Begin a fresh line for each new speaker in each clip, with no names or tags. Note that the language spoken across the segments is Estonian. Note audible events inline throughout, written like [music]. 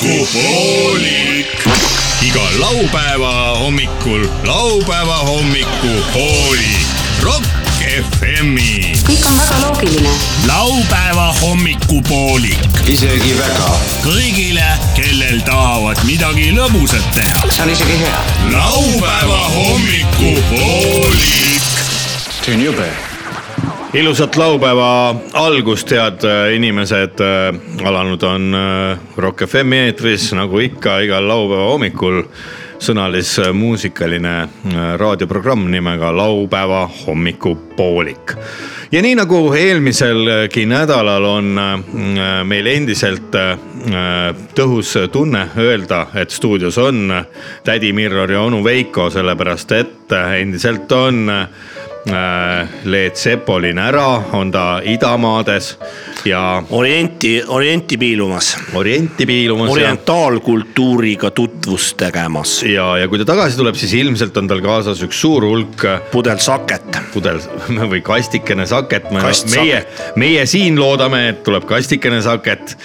hommikupoolik . iga laupäeva hommikul laupäeva hommikupoolik . Rock FM-i .
kõik on väga loogiline .
laupäeva hommikupoolik
isegi väga .
kõigile , kellel tahavad midagi lõbusat teha .
see on isegi hea .
laupäeva hommikupoolik .
see on jube .
ilusat laupäeva algust , head äh, inimesed . alanud on äh, Rock FM-i eetris nagu ikka igal laupäeva hommikul sõnalis-muusikaline äh, raadioprogramm nimega laupäeva hommikupoolik . ja nii nagu eelmiselgi nädalal on äh, meil endiselt äh, tõhus tunne öelda , et stuudios on äh, tädi Mirror ja onu Veiko , sellepärast et endiselt on äh, Leet Sepolin ära , on ta idamaades ja
orienti , orienti piilumas ,
orienti piilumas .
orientaalkultuuriga tutvust tegemas .
ja , ja kui ta tagasi tuleb , siis ilmselt on tal kaasas üks suur hulk äh,
pudel saket ,
pudel [laughs] või kastikene saket .
Kast
meie , meie siin loodame , et tuleb kastikene saket .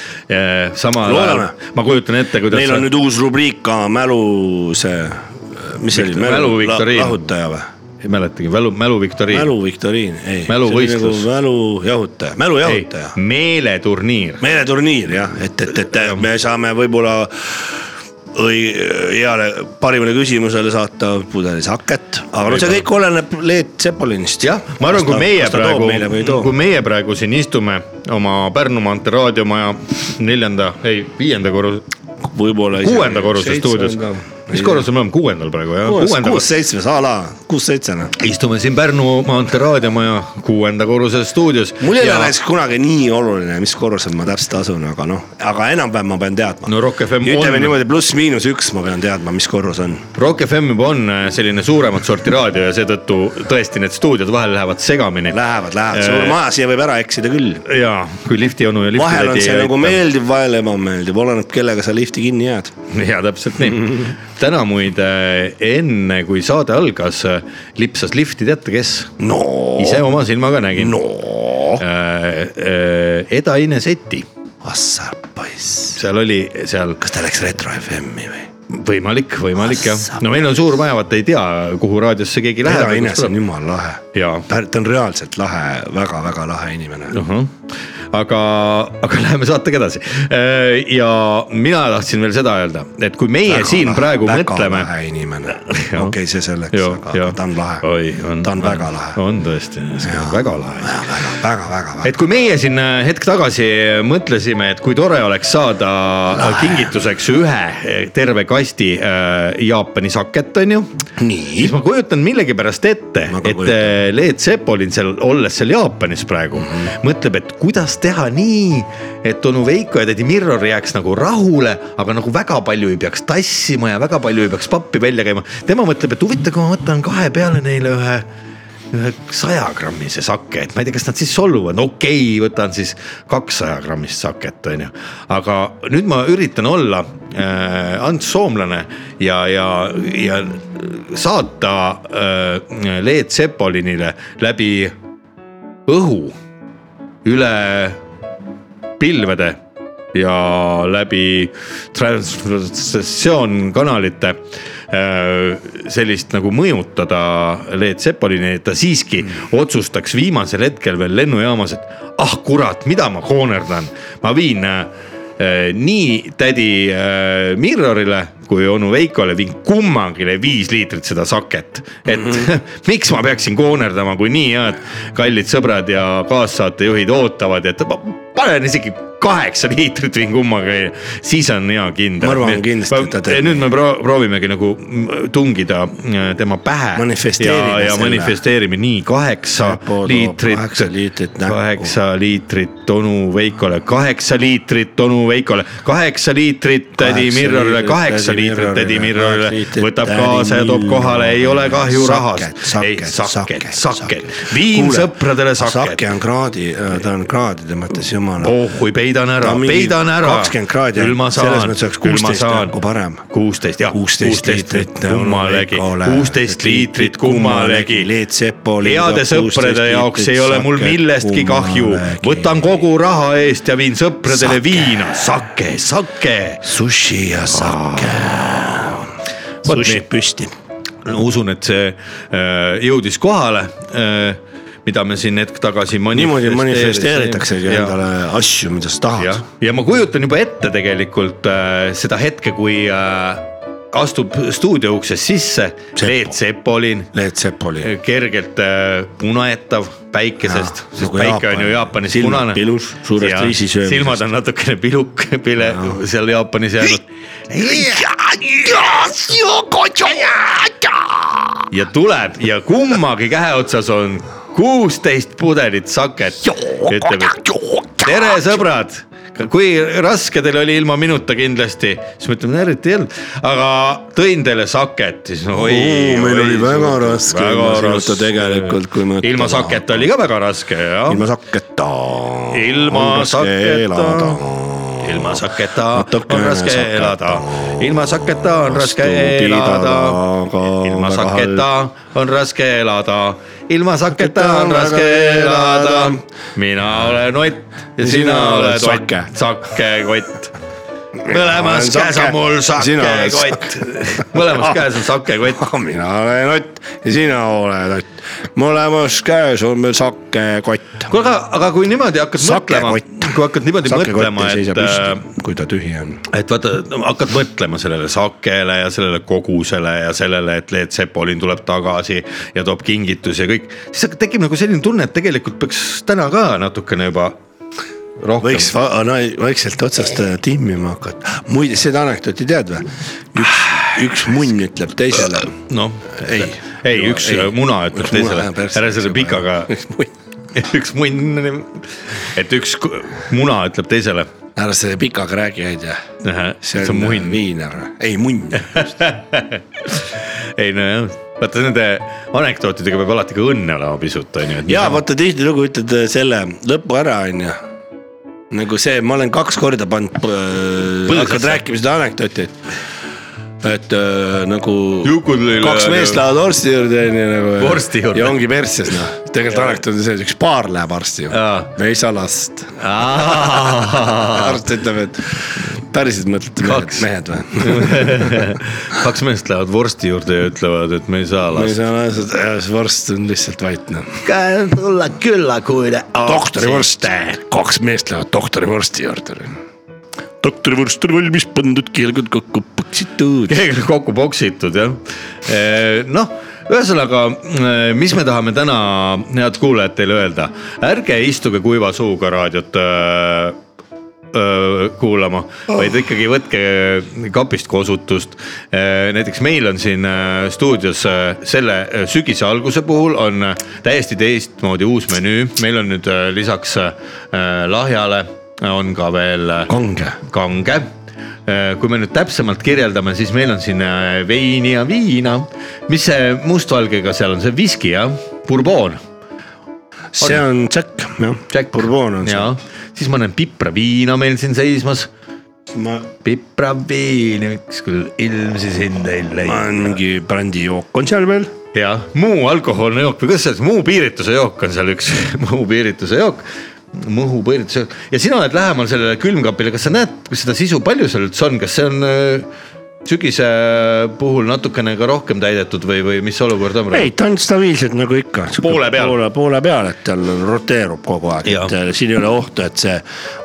samal
Loodame.
ajal ma kujutan ette , kuidas .
neil on nüüd uus rubriik ka mälu see , mis see oli ,
Viktor- mälu viktoriin.
lahutaja või ?
ei mäletagi , mälu , mäluviktoriin .
mälu viktoriin , ei .
Mäluvõistlus.
mälu jahutaja , mälu jahutaja ,
meeleturniir .
meeleturniir jah , et , et , et me saame võib-olla õi- , heale , parimale küsimusele saata pudeli saket , aga no see kõik oleneb Leet Sepolinist .
jah , ma arvan , kui meie praegu , kui meie praegu siin istume oma Pärnu maantee raadiomaja neljanda , ei viienda korruse ,
võib-olla .
kuuenda korruse stuudios . mis korrusel me oleme , kuuendal praegu jah ?
kuues , kuus-seitsmes a la , kuus-seitse noh .
istume siin Pärnu maantee raadiomaja kuuenda korruse stuudios .
mul ei ole näiteks kunagi nii oluline , mis korrusel ma täpselt asun , aga noh , aga enam-vähem ma pean teadma .
No Rock FM
ütleme
on-
niimoodi pluss-miinus üks , ma pean teadma , mis korrus on .
Rock FM juba on äh, selline suuremat sorti raadio ja seetõttu tõesti need stuudiod vahel lähevad segamini .
Lähevad , lähevad ,
Eh,
suur maja , siia võib ära eksida küll .
jaa , kui lifti onu ja lifti
vahel on see nagu . meeldiv , vahel ebameeldiv , oleneb kellega sa lifti kinni jääd .
jaa , täpselt
[laughs]
nii . täna muide , enne kui saade algas , lipsas lifti , teate kes ?
no ,
ise oma silmaga nägin .
Oh. no ,
Eda-Ine Seti ,
assa poiss ,
seal oli seal
kas ta läks Retro FM-i või ?
võimalik , võimalik jah , no meil on suur maja , vaata ei tea , kuhu raadiosse keegi läheb .
Eda-Ines on jumala lahe .
Jaa. Noh,
ta ta on reaalselt lahe väga, , väga-väga lahe inimene .
ahah , aga , aga [laughs] läheme saatega edasi . ja mina tahtsin veel seda öelda , et kui meie
Väga
väga siin
lahe,
lahe, praegu
väga
mõtleme .
lahe inimene , okei , see selleks , aga ta on lahe
oi ,, on .
ta on väga lahe ,
on tõesti , see on väga lahe
väga-väga-väga .
et kui meie siin äh, hetk tagasi mõtlesime , et kui tore oleks saada äh, kingituseks ühe terve kasti äh, Jaapani saket , onju .
nii
siis , ma kujutan millegipärast ette
Ma , ka
et
kujutan. Mhm.
äh, Leet Sepolin seal , olles seal Jaapanis praegu mm , -hmm. mõtleb , et kuidas teha nii , et onu Veiko ja tädi Mirror jääks nagu rahule , aga nagu väga palju ei peaks tassima ja väga palju ei peaks pappi välja käima . tema mõtleb , et huvitav , kui ma võtan kahe peale neile ühe , ühe sajagrammise sake , et ma ei tea , kas nad siis solvuvad , no okei okay, , võtan siis kakssaja grammist saket , onju . aga nüüd ma üritan olla äh, Ants Soomlane ja , ja , ja saata äh, Leet Sepolinile läbi õhu üle pilvede ja läbi translatsioonkanalite äh, sellist nagu mõjutada Leet Sepolini , et ta siiski otsustaks viimasel hetkel veel lennujaamas , et ah kurat , mida ma koonerdan , ma viin äh, nii tädi äh, Mirrorile kui onu Veikole viin kummagile viis liitrit seda saket . et mm
Mhm.
-hmm. [laughs] miks ma peaksin koonerdama , kui nii head kallid sõbrad ja kaassaatejuhid ootavad , et ma panen isegi kaheksa liitrit viin kummagi , siis on hea kindel .
Ma arvan kindlasti, et ta teeb
nüüd me proo- proovimegi nagu mm, tungida äh, tema pähe .
Manifesteerime
ja, ja
selle.
manifesteerime nii kaheksa
Näppu-
liitrit ,
kaheksa liitrit näkku.
kaheksa liitrit onu Veikole , kaheksa liitrit onu Veikole , kaheksa liitrit tädi
Kaheksa
Mirrorile ,
liitrit
kaheksa
tädi
liitrit tädi
Mirrorile,
Mirrorile
kaheksa liitrit ,
võtab
tädi
kaasa ja toob kohale , ei ole kahju
Saket,
rahast . ei , saket
saket, saket, ,
saket
saket. ,
viin
Kuule,
sõpradele
sake
saket .
on kraadi , ta on äh, kraadide mõttes jumala
oh kui peidan ära
Ta , mingi
peidan ära .
20 kraadi on.
küll ma saan .
Selles mõttes oleks 16 nagu parem.
kuusteist , jah .
16 liitrit
kummalegi , kuusteist liitrit kummalegi .
Leet Sepoli
heade sõprade jaoks ei ole mul millestki kahju , võtan kogu raha eest ja viin sõpradele
Sake.
viina , sake , sake .
sushi ja sake .
Vot
sushi
nii.
püsti .
usun , et see äh, jõudis kohale äh, , mida me siin hetk tagasi .
niimoodi manifesteeritaksegi endale asju , mida sa
jah
tahad .,
ja ma kujutan juba ette tegelikult äh, seda hetke , kui äh, astub stuudio uksest sisse
Seppo.
Leet Sepolin ,
Leet Sepoli .
kergelt äh, punetav päikesest ,
Jaa,
sest
nagu
päike on ju
Jaapan.
Jaapanis
Silmad
punane .
pilus, suurest riisisöömisest.
silmad on natukene piluk , pile seal Jaapanis jäänud . ja tuleb ja kummagi käe otsas on kuusteist pudelit saket . ütleb , et tere , sõbrad , kui raske teil oli ilma minuta kindlasti , siis ma ütlen , eriti ei olnud , aga tõin teile saket , siis no oi .
Oo, meil oli väga raske ilma sinuta tegelikult, kui mõtlema
ilma saketa oli ka väga raske jah .
ilma saketa .
Ilma saketa. ilma saketa on
Natukene
raske
saketa.
elada , ilma saketa on raske
Vastu
elada
pidada, , aga
ilma
Oh, väga
saketa on raske elada , ilma saketa
Saketa
on
on
raske
väga
elada
elada. .
mina olen Ott ja sina oled Ott , sakekott . mõlemas
olen
käes on
sake,
mul
sina oled
sakekott , [laughs] mõlemas käes on sakekott .
[laughs] mina olen Ott ja sina oled Ott . mõlemas käes on meil sakekott .
kuule , aga , aga kui niimoodi hakkad mõtlema ,
Sakekott.
kui hakkad niimoodi mõtlema , et äh,
kui ta tühi on .
et vaata , hakkad mõtlema sellele sakele ja sellele kogusele ja sellele , et Leet Sepolin tuleb tagasi ja toob kingitusi ja kõik , siis hakkab- tekib nagu selline tunne , et tegelikult peaks täna ka natukene juba rohkem .
võiks va- no, vaikselt otsast äh, timmima hakata . muide , seda anekdooti tead või ? üks , üks munn ütleb teisele .
noh ,
ei
ei üks ei. muna ütleb
Üks muna
teisele ,
läheb järjest
ära selle
teise
pikaga
peale. , Üks munn.
[laughs] üks munn , et üks ku- muna ütleb teisele ,
ära selle pikaga räägi , ei tea .
see on
äh,
munn .
viiner , ei munn .
ei nojah , vaata nende anekdootidega peab alati ka õnne olema pisut , onju .
ja vaata tihtilugu ütled äh, selle lõpu ära , onju . nagu see , ma olen kaks korda pannud , hakkad rääkima seda anekdooti , et , et äh, nagu
Jukud lõi-
kaks meest lähevad arsti juurde , onju nagu .
Vorsti juurde.
ja ongi perses , noh . tegelikult anekdoot on see , et üks paar läheb arsti juurde
Jaa. ,
me ei saa last .
vaata
arst ütleb , et päriselt mõtlete mehed,
Kaks.
mehed või ?
[laughs] kaks meest lähevad vorsti juurde ja ütlevad , et me ei saa
me ei
lasta .
saa last , see vorst on lihtsalt vait , noh
tulla külla , kui .
Ah, doktorivorst , kaks meest lähevad doktorivorsti juurde . doktorivorst on valmis pandud , keelgud kokku põksitud .
[laughs] keegi kokku poksitud jah . noh , ühesõnaga , mis me tahame täna , head kuulajad , teile öelda , ärge istuge kuiva suuga raadiot öö, öö, kuulama , vaid ikkagi võtke kapist kosutust . näiteks meil on siin öö, stuudios öö, selle öö, sügise alguse puhul on öö, täiesti teistmoodi uus menüü , meil on nüüd öö, lisaks öö, lahjale on ka veel eh, öö,
kange .
kange . kui me nüüd täpsemalt kirjeldame , siis meil on siin äh, veini ja viina . mis see mustvalgega seal on , see viski jah , Bourbon ,
see on Jack , jah .
Jack.
Bourbon on see .
jaa . siis ma näen pipraviina meil siin seismas ,
ma ,
pipraviini , üks küll ilmsi sind ei
ma
leia .
mingi brändijook on seal veel .
jah , muu alkohoolne jook või kuidas see , muu piirituse jook on seal üks [laughs] muu piirituse jook Mõhu piirituse jook. ja sina oled lähemal sellele külmkapile , kas sa näed kas seda sisu , palju seal üldse on , kas see on öö, sügise puhul natukene ka rohkem täidetud või , või mis olukord on
ei ,
praegu ?
ta on stabiilselt nagu ikka .
Poole peal.
poole , poole peal , et tal roteerub kogu aeg ,
Jaa.
et äh, siin ei ole ohtu , et see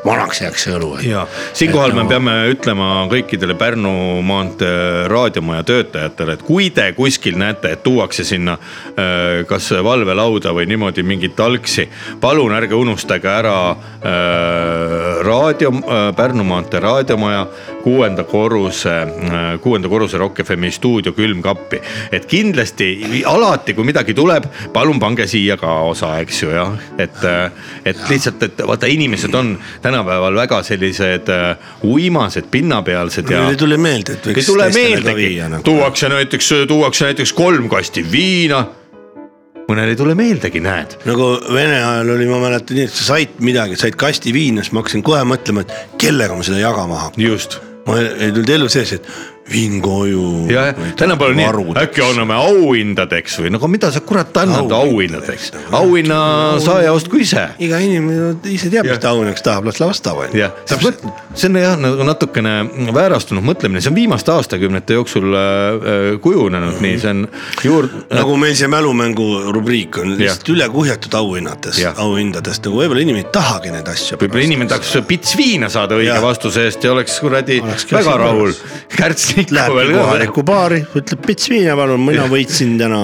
vanaks jääks see õlu .
ja siinkohal me peame ütlema kõikidele Pärnu maantee raadiomaja töötajatele , et kui te kuskil näete , et tuuakse sinna öö, kas valvelauda või niimoodi mingit algsi , palun ärge unustage ära öö, raadio , Pärnu maantee raadiomaja kuuenda korruse , kuuenda korruse Rock FM stuudio külmkappi . et kindlasti alati , kui midagi tuleb , palun pange siia ka osa , eks ju jah , et , et lihtsalt , et vaata , inimesed on tänapäeval väga sellised äh, uimased , pinnapealsed ja
ei tule meelde , et
ei
võiks
tule
teistele ka nagu
meeldegi
viia , nagu .
tuuakse näiteks , tuuakse näiteks kolm kasti viina . mõnel ei tule meeldegi , näed .
nagu Vene ajal oli , ma mäletan nii , et sa said midagi , said kasti viina , siis ma hakkasin kohe mõtlema , et kellega ma seda jagama hakkan .
just .
ma ei ei tulnud ellu sees , et viin koju .
ja , ja tänapäeval on nii , äkki anname auhindadeks või no aga mida sa kurat annad auhindadeks
Auhindadeks. ,
auhinna saaja ostku ise
iga inimene ise teab , mis
Jah.
ta õuneks tahab , las ta ostab onju
jah , see on jah nagu natukene väärastunud mõtlemine , see on viimaste aastakümnete jooksul äh, äh, kujunenud nii , see on juurde
nagu meil see mälumängu rubriik on
Jah.
lihtsalt üle kuhjatud auhinnatest
Jah. ,
auhindadest , nagu võib-olla inimene ei tahagi neid asju .
võib-olla inimene tahaks pits viina saada õige
Jah.
vastuse eest ja oleks kuradi
Oleks küll
väga
siin
rahul
korras. .
kärtsnikku
Läheb
veel ka .
kohalikku baari , ütleb pits viina palun , mina võitsin täna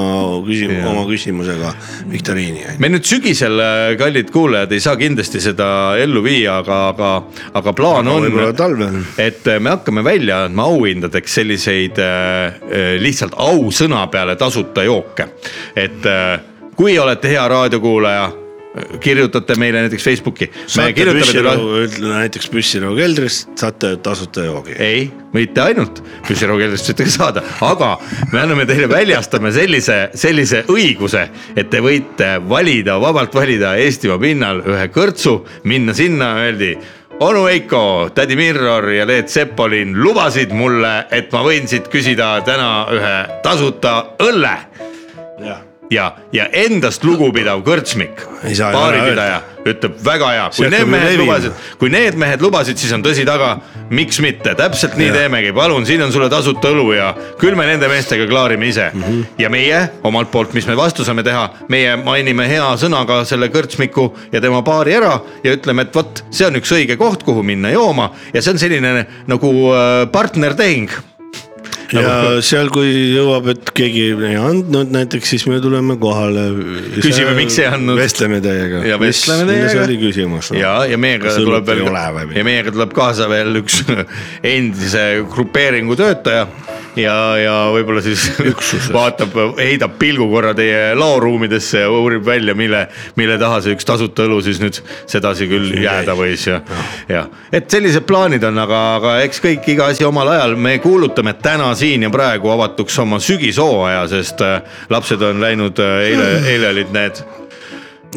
küsim-
Jah. ,
oma küsimusega viktoriini .
me nüüd sügisel , kallid kuulajad , ei saa kindlasti seda ellu viia , aga , aga , aga plaan on ,
võib-olla talvel .
et äh, me hakkame välja andma auhindadeks selliseid äh, äh, lihtsalt ausõna peale tasuta jooke . et äh, kui olete hea raadiokuulaja , kirjutate meile näiteks Facebooki . me
saate
kirjutame teile
püssirohu , ütleme näiteks püssirohu keldrist , saate tasuta joogi .
ei , mitte ainult püssirohukeldrist võite ka saada , aga me anname teile , väljastame sellise , sellise õiguse , et te võite valida , vabalt valida Eestimaa pinnal ühe kõrtsu , minna sinna , öeldi . onu Veiko , tädi Mirror ja Leet Sepolin lubasid mulle , et ma võin siit küsida täna ühe tasuta õlle ja , ja endast lugupidav kõrtsmik ,
Ei saa ju ära
baaripidaja , ütleb väga hea ,
See
kui need
hakkab
mehed
levima.
lubasid , kui need mehed lubasid , siis on tõsi taga , miks mitte , täpselt nii
Jah.
teemegi , palun , siin on sulle tasuta õlu ja küll me nende meestega klaarime ise mm .
Mhm.
-hmm. ja meie omalt poolt , mis me vastu saame teha , meie mainime hea sõnaga selle kõrtsmiku ja tema baari ära ja ütleme , et vot , see on üks õige koht , kuhu minna jooma ja see on selline nagu äh, partnertehing . Nagu-
ja seal , kui jõuab , et keegi ei andnud näiteks , siis me tuleme kohale .
Küsime, miks ei andnud.
vestleme teiega .
Ja vestleme teiega.
milles oli küsimus ?
ja , ja meiega
Kas
tuleb
õlut ei
veel
ole või , midagi?
ja meiega tuleb kaasa veel üks [laughs] endise grupeeringu töötaja ja , ja võib-olla siis [laughs] vaatab , heidab pilgu korra teie laoruumidesse ja uurib välja , mille , mille taha see üks tasuta õlu siis nüüd sedasi küll jääda võis ja ,
Noh.
ja et sellised plaanid on , aga , aga eks kõik iga asi omal ajal , me kuulutame täna siin ja praegu avatuks oma sügishooaja , sest äh, lapsed on läinud , eile , eile olid need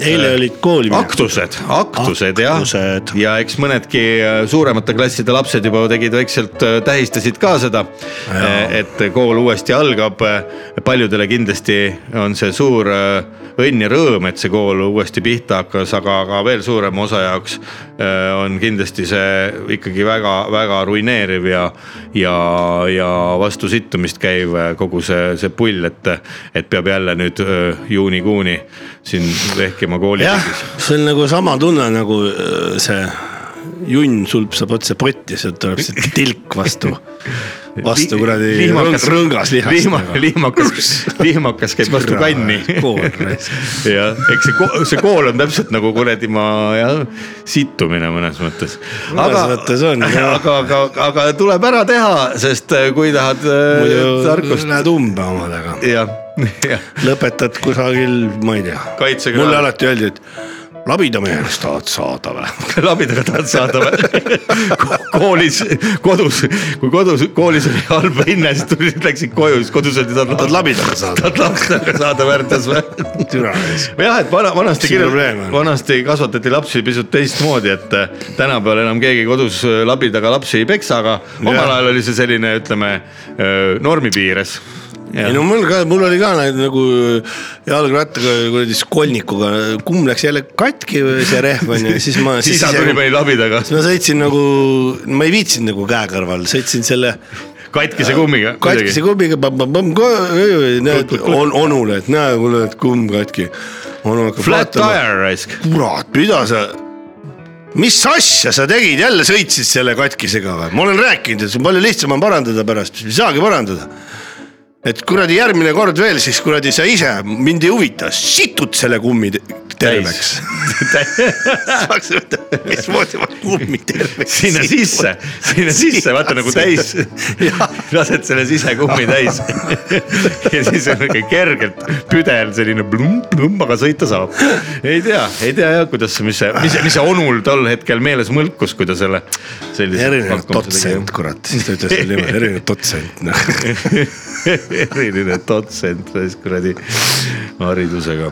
eile olid kooli .
aktused , aktused jah ,
Aktused.
ja eks mõnedki äh, suuremate klasside lapsed juba tegid väikselt , tähistasid ka seda , et kool uuesti algab . paljudele kindlasti on see suur äh, õnn ja rõõm , et see kool uuesti pihta hakkas , aga , aga veel suurema osa jaoks äh, on kindlasti see ikkagi väga-väga ruineeriv ja , ja , ja vastu sittumist käiv äh, kogu see , see pull , et , et peab jälle nüüd äh, juunikuuni siin vehkima kooli .
jah , see on nagu sama tunne nagu öö, see junn sulpsab otse potti , sealt
[laughs]
tuleb see tilk vastu , vastu kuradi
lihmakas-
rõngas- rõngas
lihma,
lihast .
lihmakas , lihmakas käib vastu
Türa,
kanni .
kool
[laughs]
raisk.
jah , eks see kool , see kool on täpselt nagu kuradi ma jah , sittumine mõnes mõttes .
Mõnes mõttes
[laughs]
on, jah.
aga , aga , aga tuleb ära teha , sest äh, kui tahad äh,
muidu
tarkust
lähed umbe omadega ,
jah , [laughs] jah ,
lõpetad kusagil , ma ei tea .
Kaitseväe-
mulle alati öeldi , et labidameheks tahad saada või ? [laughs]
labidaga tahad saada või ? [laughs] koolis , kodus , kui kodus , koolis oli halb hinne , siis tulid , läksid koju , siis kodus öeldi ,
tahad
tahad
labidaga saada ?
[laughs] tahad lapsega saada väärtes või ?
türa raisk .
jah , et vana , vanasti
Siin probleem
kirjutati
on. ,
vanasti kasvatati lapsi pisut teistmoodi , et äh, tänapäeval enam keegi kodus äh, labi taga lapsi ei peksa , aga omal
Jah.
ajal oli see selline , ütleme äh, normi piires .
ei no mul ka , mul oli ka neid nagu jalgrattaga kuradi skolnikuga , kumb läks jälle katki või see rehv on ju , siis ma .
[laughs] isa tuli meil labi taga ,
siis ma sõitsin nagu , ma ei viitsinud nagu käe kõrval , sõitsin selle
katkise kummiga .
katkise Äh, kummiga , näed
Kut- kut-
on, onule , et näe , kuule , et kumm katki . onu hakkab
Flat
vaatama ,
tire raisk .
kurat , mida sa , mis asja sa tegid , jälle sõitsid selle katkisega või ? ma olen rääkinud , et see on palju lihtsam on parandada pärast , ei saagi parandada . et kuradi järgmine kord veel , siis kuradi sa ise , mind ei huvita , situd selle kummi te- terveks . [laughs] saaks öelda , mismoodi ma kummi terveks .
sinna sisse , sinna sisse , vaata nagu täis . lased selle sisekummi täis . ja siis on ikka kergelt püdel selline plumm-plumm , aga sõita saab . ei tea , ei tea jah , kuidas , mis see , mis , mis see onul tol hetkel meeles mõlkus , kui ta selle .
erinev dotsent ,
[laughs]
kurat , siis ta ütles selle nime , [laughs] erinev dotsent , noh .
eriline dotsent , kuradi , haridusega ,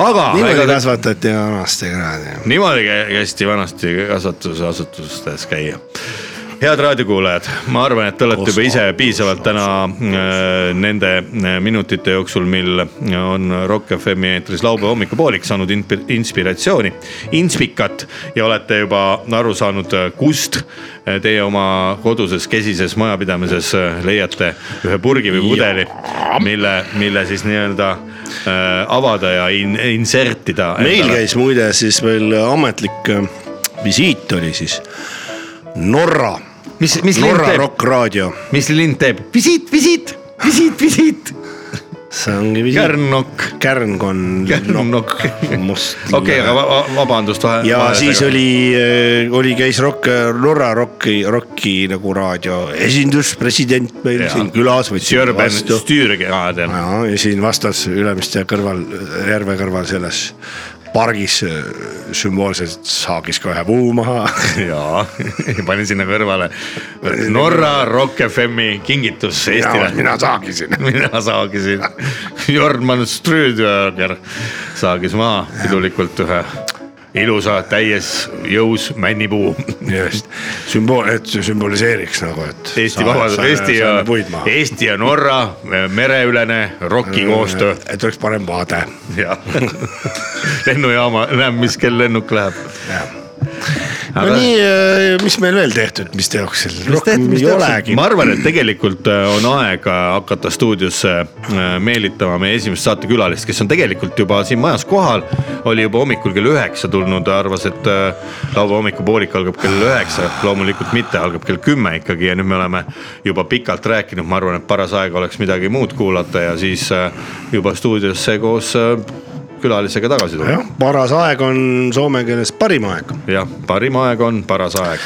aga .
niimoodi kasvatati vanasti kuradi .
niimoodi kä- kästi vanasti kasvatusasutustes käia . head raadiokuulajad , ma arvan , et te olete juba ise piisavalt täna äh, nende äh, minutite jooksul , mil on Rock FM-i eetris laupäeva hommikupoolik saanud inp- inspiratsiooni , inspikat ja olete juba aru saanud , kust äh, teie oma koduses kesises majapidamises äh, leiate ühe purgi või pudeli , mille , mille siis nii-öelda äh, avada ja in, insertida .
meil käis muide siis veel ametlik äh, visiit oli siis Norra ,
mis , mis lind
Norra
teeb ?
Rock Raadio .
mis lind teeb ? visiit , visiit , visiit ,
[laughs]
visiit .
see ongi visiit .
kärnnokk .
kärnkon .
kärnnokk .
must .
okei , aga va- va- vabandust vahe .
ja siis . oli , oli , käis Rock , Norra Rocki , Rocki nagu raadio esindus , president meil
Jaa.
ja. siin külas võttis
Jürgen
vastu . Ah.
Stürgeaden .
ja ja siin vastas Ülemiste kõrval , järve kõrval selles pargis äh, sümboolselt saagis kohe puu
[laughs]
maha .
jaa , panin sinna kõrvale Norra Rock FM-i kingitus Eestile .
mina saagisin .
[laughs] mina saagisin , Jorman Strööder saagis maha pidulikult ühe ilusa täies jõus männipuu .
just , sümbool , et see sümboliseeriks nagu , et .
Eesti vabadus , Eesti ja ,
Eesti
Eesti ja Norra mereülene
Äh.
roki koostöö .
et oleks parem vaade .
jah , [laughs] lennujaama , näeb , mis kell lennuk läheb .
no
Aga-
nii , mis meil veel tehtud , mis tehakse ? rohkem ei olegi
ma . arvan , et tegelikult äh, on aeg äh, hakata stuudiosse äh, meelitama meie esimest saatekülalist , kes on tegelikult juba siin majas kohal . oli juba hommikul kell üheksa tulnud , arvas , et äh, laupäeva hommikupoolik algab kell üheksa , loomulikult mitte , algab kell kümme ikkagi ja nüüd me oleme juba pikalt rääkinud , ma arvan , et paras aeg oleks midagi muud kuulata ja siis äh, juba stuudiosse koos äh, külalisega tagasi tulla
jah , paras aeg on soome keeles parim aeg .
jah , parim aeg on paras aeg .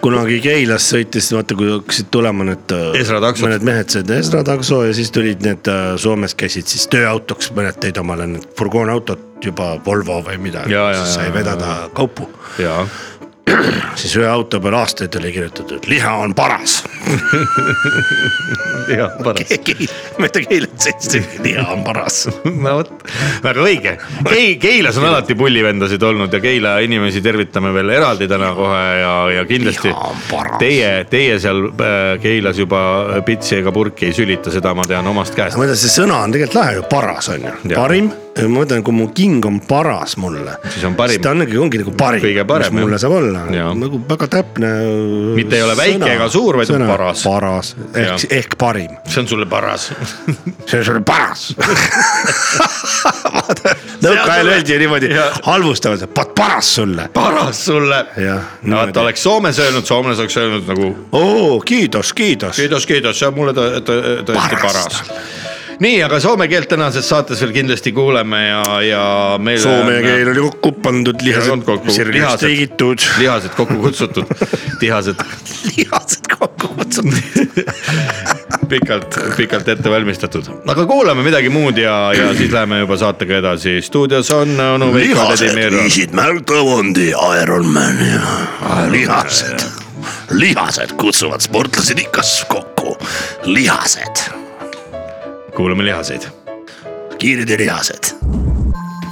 kunagi Keilas sõitis , vaata kui hakkasid tulema need .
Esra taksod.
mõned mehed said Esra takso ja siis tulid need äh, Soomes käisid siis tööautoks , mõned tõid omale need furgoonautot juba Volvo või midagi
Ja, ja, ,
sai
ja,
vedada kaupu .
ja
siis ühe auto peal aastaid oli kirjutatud , liha on paras . [laughs]
jah , paras . [laughs]
mitte Keilat sõitsid , liha on paras .
no vot , väga õige . Kei- , Keilas on alati pullivendasid olnud ja Keila inimesi tervitame veel eraldi täna kohe ja , ja kindlasti
Jaa, paras.
teie , teie seal äh, Keilas juba pitsi ega purki ei sülita , seda ma tean omast käest .
ma mõtlen , see sõna on tegelikult lahe ju , paras on ju ,
Jah.
parim , ma mõtlen , kui mu king on paras mulle .
Siis on parim.
ta ongi , ongi nagu parim ,
Kõige parem,
mis mulle
jah.
saab olla ,
Jaa.
nagu väga täpne .
Mitte ei ole väike ega suur, vaid on paras.
paras ehk
Jah. ,
ehk parim ,
see on sulle paras .
see on sulle
[laughs]
paras . nõukaajal
sulle-
öeldi ju niimoodi
Jah.
halvustavalt , vaat paras sulle .
[laughs] paras sulle .
Jah,
no
niimoodi.
vaata , oleks Soomes öelnud , soomlased oleks öelnud nagu
oo , kiidos , kiidos .
kiidos , kiidos , see on mulle tõ- tõ- tõesti
Paras.
paras . nii , aga soome keelt tänases saates veel kindlasti kuuleme ja , ja meil .
soome keel oli kokku pandud ,
Ei olnud
lihased
kokku. Lihased.
sirgeks tigitud ,
lihased kokku kutsutud , tihased
[laughs] lihased kokku kutsutud .
[laughs] pikalt , pikalt ette valmistatud , aga kuulame midagi muud ja , ja siis läheme juba saatega edasi , stuudios on onu Veiko
lihased
Vladimir .
viisid märgtavondi Ironmani . lihased , lihased kutsuvad sportlased ikka kokku , lihased ,
kuulame lihaseid .
kiired ja lihased .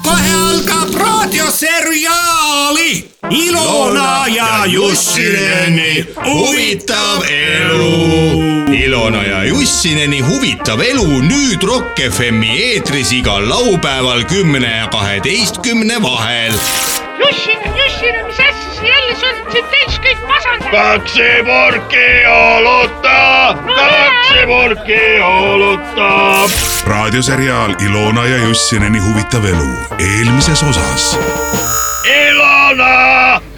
kohe algab raadioseriaali Ilona ja Jussineni huvitav elu .
Ilona ja Jussineni huvitav elu nüüd Rock FM-i eetris igal laupäeval kümne ja kaheteistkümne vahel .
Jussin , Jussin , mis asja sa jälle , sa oled siin täis kõik masendanud .
raadioseriaal Ilona ja Jussineni huvitav elu eelmises osas .
ära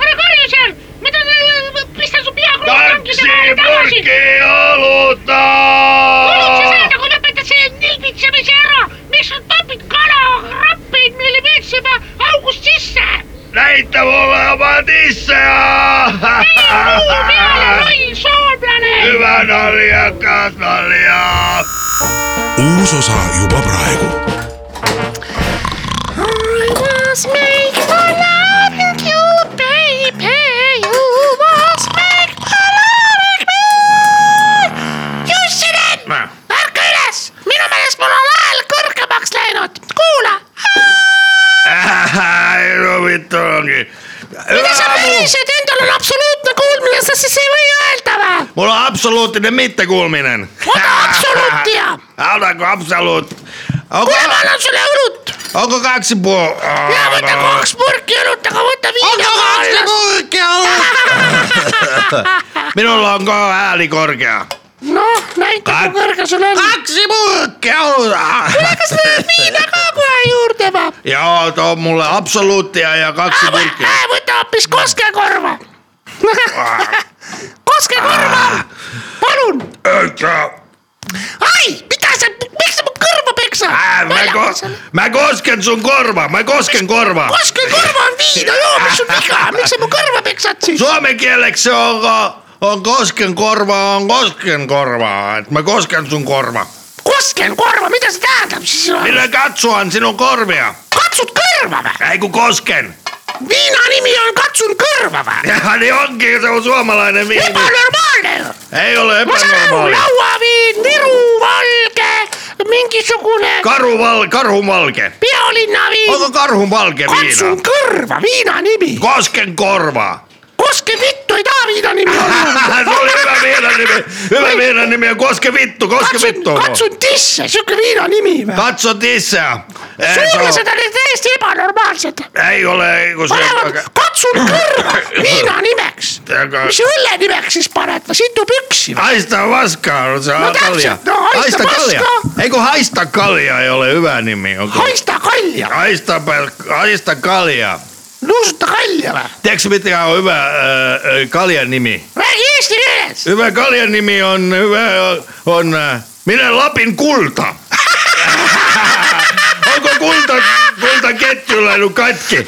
karju seal , ma tahan , pista su pea kuradi tankide vahele tagasi . kuulid sa seda , kui lõpetad selle nilbitsemise ära , miks sa topid kalakrappeid meile veetsema august sisse ? näita mulle oma tisse . ei , muu peale , loll soomlane .
uus osa juba praegu .
was make my love you, baby. You was make my love you. Jussinen , ärka üles , minu meelest mul on hääl kõrgemaks läinud , kuula ,
Äh, Mul on absoluuttinen mittekuulminen .
Ota absoluuttia.
[laughs] Annako absoluut ?
kuule , ma annan sulle õlut
onko kaksi ja puoli ?
ja võta kaks purki õlut , aga võta viina ka
nagu-
alles .
minulla on ka ääni korkea .
noh , näita kui kõrge sul on .
kaksi purkkia olla .
kas sa tahad viina ka kohe juurde või ?
ja too mulle absoluuttia ja kaksi purkkia .
võta hoopis koskekorva . koskekorva , palun . ai , mida sa , miks sa mu kõrva peksad
ma ei kos- , ma kosken sun korva , ma kosken korva .
koskekorva on viina joo , mis sul viga , miks sa mu kõrva peksad siis ?
Suomen kieleksi se on, ko- on kosken korva, on kosken korva. Et mä kosken sun korva.
koskekorva , mida see tähendab siis ?
Millä katsoan sinun korvia?
katsud kõrva või ?
Ei kun kosken. [laughs]
viina nimi on katsun kõrva või ?
Ja niin onkin, se on suomalainen viini.
ebanormaalne ju .
Ei ole
ma saan aru ,
epänormaali.
lauaviin , Viru valge , mingisugune
Karuval, karhumalke.
pealinnaviin .
Onko karhumalke
katsun
viina?
kõrva , viina nimi .
Kosken korva. [laughs]
koske vittu ei taha viina nimi
se oli hyvä
olla .
viinan nimi. Hyvä viinan nimi on koske vittu, koske
katsun
vittu. ,
katsun tisse , siuke viina nimi või ?
Katso tissää. Ei, se on-
suunised on täiesti ebanormaalsed .
ei ole, ei kun se
panevad katsun kõrva
[coughs]
viina nimeks .
Aga-
mis õlle nimeks siis paned või situpüksi või ?
Haista vaskaa, no se on
täpselt,
kalja.
no haista vaskaa.
Ei kun haista kalja ei ole hyvä nimi. Onko?
haista kalja ,
Haista, pel- haista kalja.
nuusuta kalja või ?
Tiedätkö mikä on hyvä äh, kaljan nimi?
räägi eesti keeles .
Hyvä kaljan nimi on, hyvä, on, on äh, minä Lapin kulta. [laughs] Onko kulta, kulta ketju läinyt katki?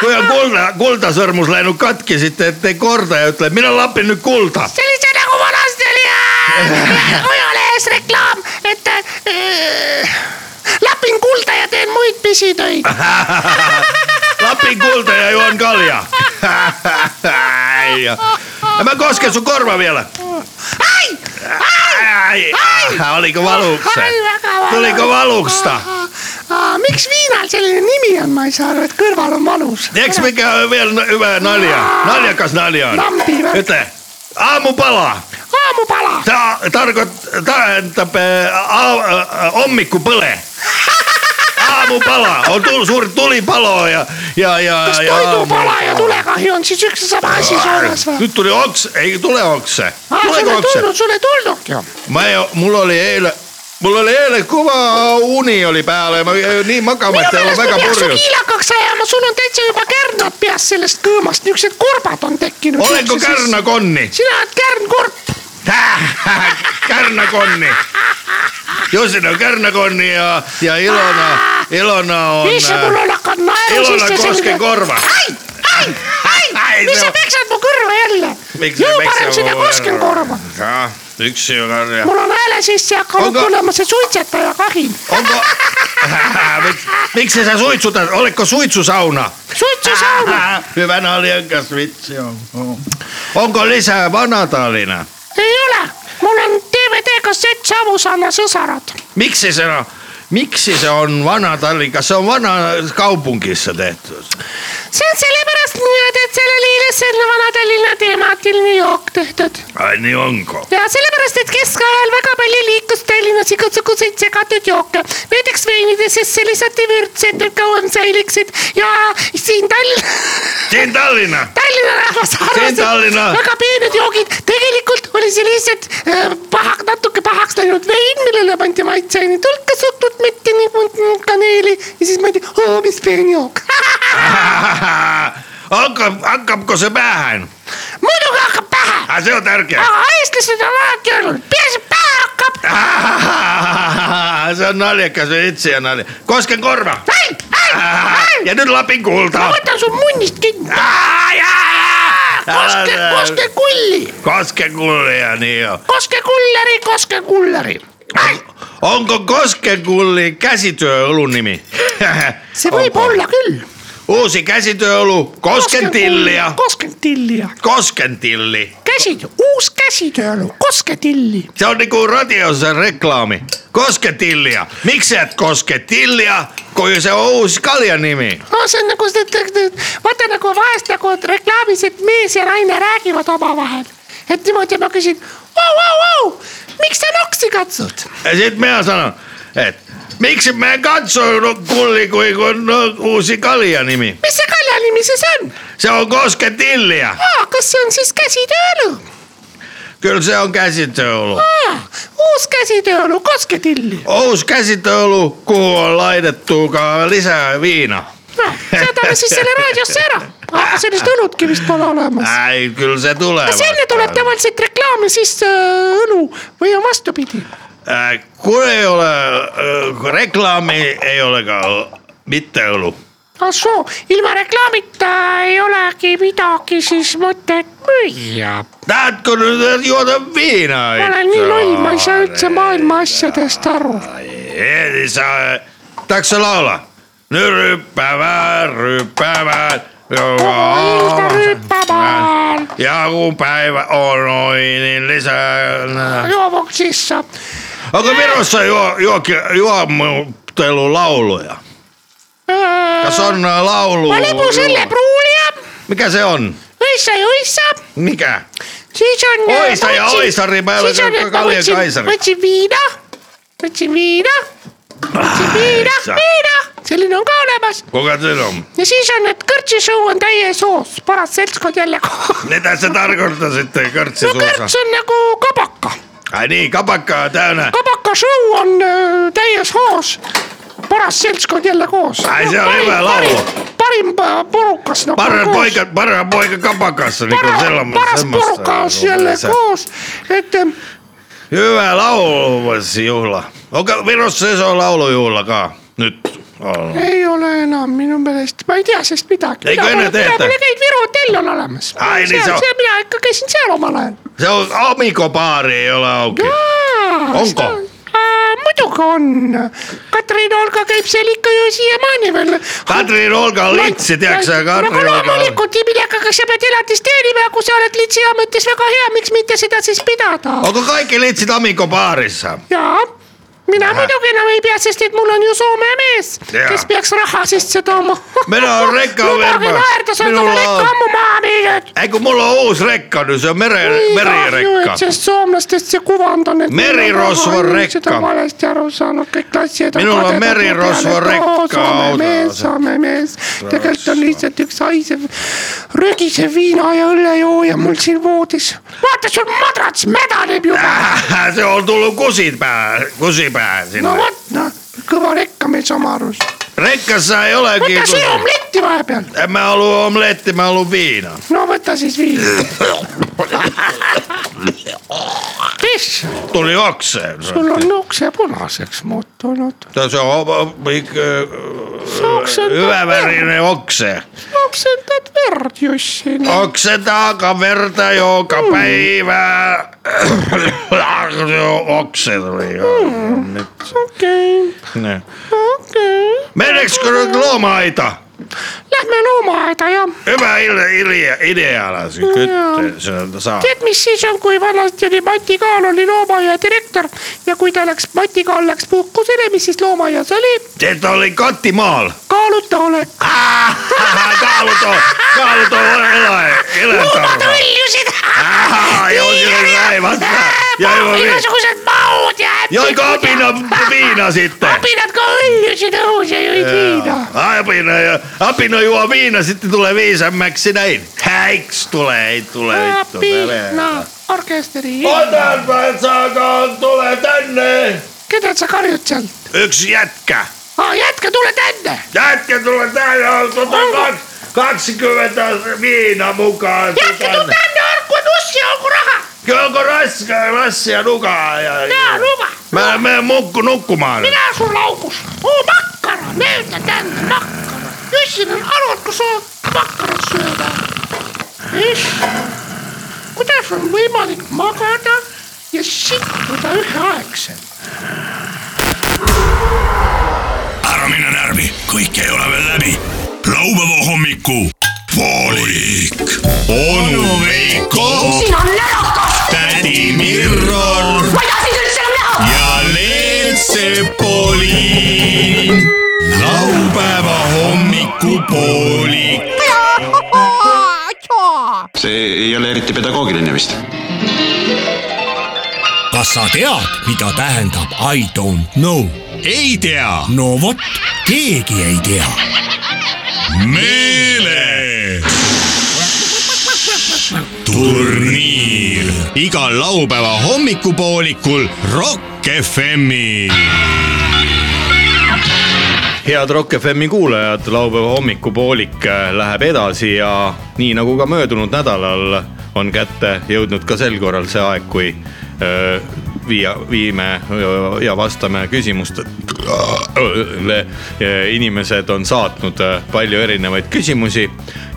Kun on kulta, kultasormus läinyt katki sitten, ettei korta ja ütlee, minä Lapin nyt kulta.
see oli see nagu vanasti oli äh, ajalehes reklaam , et äh, lapin kulda ja teen muid pisitöid .
Lapin kulta ja juon kaljaa. Äijä. Ja mä kosken sun korva vielä.
ai ,
Ai, ai, oliko valuksen?
ai väga valus .
Tuliko valusta?
miks viinal selline nimi on , ma ei saa aru , et kõrval on valus .
Tiedätkö mikä on vielä n- hyvä nalja? Naljakas nalja on.
Lampi vai?
Yle. Aamupala.
haamupala .
Tää tarkoittaa, että pe- a- a- a- ommikku pöle. Aamupala. On tuli, suuri tulipalo ja... ja, ja
kas
ja
toidupala
aamupala.
ja tulekahju on siis üks ja sama asi Soomes või ?
Nyt tuli okse, ei tule okse.
sul
Tuleeko
ei
okse?
tulnud , sul ei tulnudki .
Mä ei, oo- mulla oli eilen, mulla oli eilen kuva uni oli päällä ja mä jäin niin
minu
makamatta ja
meelest
olen
ma
väga
peaks su
purjus.
kiilakaks ajama , sul on täitsa juba kärnad peas sellest kõõmast , niisugused korbad on siis- tekkinud .
Olenko kärnakonni?
sina oled kärnkorp .
Täh, kärnakonni. Jussi on kärnakonni ja, ja Ilona, Ilona on... äh,
issand , mul Niin on hakanud naeru
Ilona
sisse
Kosken korva.
ai , ai , ai ,
[laughs] Ai,
mis
se
sa
on-
peksad mu kõrva jälle ?
Miksi-
jõu
miksi
parem
se
sinna
voi-
Kosken korva .
Jaa, yksi joka on... Ja...
mul on hääle sisse hakanud
Onko-
tulema see suitsetaja kahin .
Onko... Mik- [laughs] Miksi [laughs] sä suitsutat? Oletko suitsusauna?
Ah!
suitsusauna ,
Ah, Hyvä naljakas vitsi on. Oo. Oh. Onko lisää vanatalina?
ei ole , mul on DVD-kassett Savusaana sõsarad .
Miksi se on, miksi se on vanha Tallinka? Se on vanha kaupungissa tehty.
see on sellepärast niimoodi , et sellele Ilesele Vana-Tallinna temaatiline jook tehtud
Ai niin onko?
ja sellepärast , et keskajal väga palju liikus Tallinnas igasuguseid segatud jooke . näiteks veinidesse lisati vürtsid , et kauem säiliksid ja siin Tall- , [laughs]
Siin Tallinna! [laughs]
Tallinna rahvas arvas , et
Tallinna-
väga peened joogid . tegelikult oli see lihtsalt äh, paha , natuke pahaks läinud vein , millele pandi maitseaineid hulka , suhkrut , metti ning mund- kaneeli ja siis mõeldi , oo , mis peen jook [laughs]
Onko, hakkapko se päähän?
muidugi hakkab pähe ,
Ah, se on tärkeä.
aga eestlased on alati öelnud , peaasi et pähe hakkab .
se on naljakas vitsi ja nalja. Kosken korva!
ai , ai , ai
Ja , nyt Lapin
ma
kulta!
võtan su munnist kinni .
Ai, ai, ai!
koske ,
Älä-
koske kulli ,
Kosken kullia, niin joo.
koske kulleri , koske kulleri .
Onko Koskenkulli käsityöolun nimi?
see võib
Onko?
olla küll .
Uusi käsityöolu Koskentillia.
koskentillia ,
Koskentilli.
käsitöö , uus käsitööelu , kosketilli .
Se on niinku radiossa reklaami. Kosketillia. Miksi et kosketillia, kun se on uusi kaljan nimi?
no see on nagu see , vaata nagu vahest nagu reklaamis , et mees ja naine räägivad omavahel et niimoodi ma küsin vau , vau , vau , miks sa noksi katsud ?
ja siit mina sanon , et miksi mä katson kulli kui kun on uusi kalja nimi .
mis see kalja nimi siis on ?
Se on kosketillia .
aa , kas see on siis käsitööõlu ?
Kyllä se on käsitööolu .
aa , uus käsitööõlu , kosketilli .
Ous käsitööolu , kuhu on laitettu ka lisää viina .
noh , saadame siis selle raadiosse ära . aga sellist õlutki vist pole olemas .
Ei , kyllä se tulee .
kas enne tuleb tavaliselt reklaami sisse äh, õlu või on vastupidi ?
Äh, kun ei ole äh, kun reklaami , ei olekaan mitään ollut .
ahsoo , ilma reklaamita ei olegi midagi siis mõtet müüa .
Näetkö nyt juoda viinaa?
ma olen nii loll , ma ei saa üldse niin maailma asjadest aru .
Eli saa... Taksa laulaa. Nyt ryppäävään, ryppäävään.
kogu ilda
Äh,
rüüpamaan ,
Ja kun päivä on ohi, niin lisää...
joovuks sisse .
Onko Virossa juo, juo, juomuttelulauluja? Kas on laulu?
ma lebusõlle pruulija ,
Mikä se on?
õissa ja õissa ,
Mikä?
siis on .
Oissa ja oissari päälle ka Kalja Kaisari.
võtsin viina , võtsin viina , võtsin viina ,
Issa.
viina , selline on ka olemas
Kuka se on?
ja siis on , et kõrtsisuu on täie soos , paras seltskond jälle koos .
Mitä se tarkoittaa sitten
no
kartsisuussa?
kõrts on nagu kabaka ,
Ai niin, kapakkaa täynnä.
kabaka show on äh, öö, täies hoos . paras seltskond jälle koos .
Ai, se on hyvä laulu.
parim pa- porukas no, .
Parra poika, parra poika kapakassa, niin kuin
paras,
sellainen.
paras porukas jälle koos , et em,
Hyvä lauluvuosijuhla. Onko Virossa iso laulujuhlakaan? Nyt on.
ei ole enam minu meelest , ma ei tea sellest midagi .
Ei, kui enne tehta.
mina käin Viru hotell on olemas .
Ai, niin se on.
mina ikka käisin seal omal ajal .
Se on omikopaari, jolla onkin. Onko?
muidugi on , Katrin Olga käib seal ikka ju siiamaani veel .
Katri Olka on litsi, tiedätkö sä
no
Katri Olka on?
loomulikult ei midagi , aga sa pead elatist teenima ja kui sa oled litsi ametis väga hea , miks mitte seda siis pidada
Onko kaikki litsit omikopaarissa?
jaa , mina muidugi enam ei pea , sest et mul on ju Soome mees ,
Jaa.
kes peaks raha sisse tooma .
[laughs] Mina on rekka
lubage
vermas.
naerda , sa oled
Minulla
oma rekka
on-
ammu maha müünud .
Ei kun mulla on uusi rekka nyt, Niin, se on mere, merirekka.
sest soomlastest see kuvand on , et .
Merirosvo rekka.
seda valesti aru saanud , kõik klassid .
Minul on merirosvo rekka
Soome
autos.
mees , Soome mees , tegelikult on lihtsalt üks haisev , rögisev viina ja õllejooja mul siin voodis . vaata , sul madrats mädaneb juba
Äh, [laughs] se on tullut kusipää, kusipää sinne.
no vot , noh , kõva rekkamees oma arust .
Rekkassa ei olekin
võta see
kusi.
omletti vahepeal ,
En mä halua omletti, mä haluan viinaa.
no võta siis viis . mis ,
Tuli okseen. se.
sul on ukse punaseks muutunud .
No, Se on o- o- mik- ö,
oksendad verd ,
hyvävärinen okse.
oksendad verd , Jussi .
Oksetaan kaverta joka päivä. [coughs] Se on okseli.
okei ,
Ne.
okei ,
Meneekö nyt lomaita?
lähme loomaaeda ja
Hyvä idea, ideala. Se kytte, se saa.
tead , mis siis on , kui vanasti oli Mati Kaal oli loomaaia direktor ja kui ta läks , Mati Kaal läks puhkusele , mis siis loomaaias oli ?
Se oli kotimaal.
kaaluta olek .
Kaalut on, kaalut on eläin,
loomad
eläintarha.
hõljusid .
Ahaa, joo, siinä oli päivästä. Ja joo, vi-
igasugused maud ja äpid .
Joiko apina viina sitten?
apinad ka hõljusid õhus ja jõid viina .
Apina, apina juo viina, sitten tulee viisammäksi näin. Häiks tulee, ei tule vittu.
apina orkesteri .
Otanpa saakaan, tule tänne!
keda sa karjud seal ?
Yksi jätkä.
jätke , tule tänne .
Jätkä tule tänne, on tota
Onko?
kaks, 20 viina mukaan.
jätke , tule
tänne.
tänne , olgu tussi , olgu raha .
Kyllä onko raskaa, rassia nukaa? Ja,
jaa , luba .
Mä menen mukku nukkumaan.
mina sul augus . oo makkara , mööda tänne makkara . Jussil on arvad , kui sa makkarat sööda . issand , kuidas on võimalik magada ja tuota sittuda üheaegselt ?
ära mine närvi , kõik ei ole veel läbi . laupäeva hommiku poolik . onu Veiko ,
siin on närakas ,
tädi Mirror
ma ei taha sind üldse enam näha .
ja Leel Sepolin . laupäeva hommikupoolik .
see ei ole eriti pedagoogiline vist .
kas sa tead , mida tähendab I don't know ?
ei tea .
no vot , keegi ei tea .
meele . turniir igal laupäeva hommikupoolikul Rock FM-il .
head Rock FM-i kuulajad , laupäeva hommikupoolik äh, läheb edasi ja nii nagu ka möödunud nädalal on kätte jõudnud ka sel korral see aeg , kui öö, viia , viime öö, ja vastame küsimustele . inimesed on saatnud öö, palju erinevaid küsimusi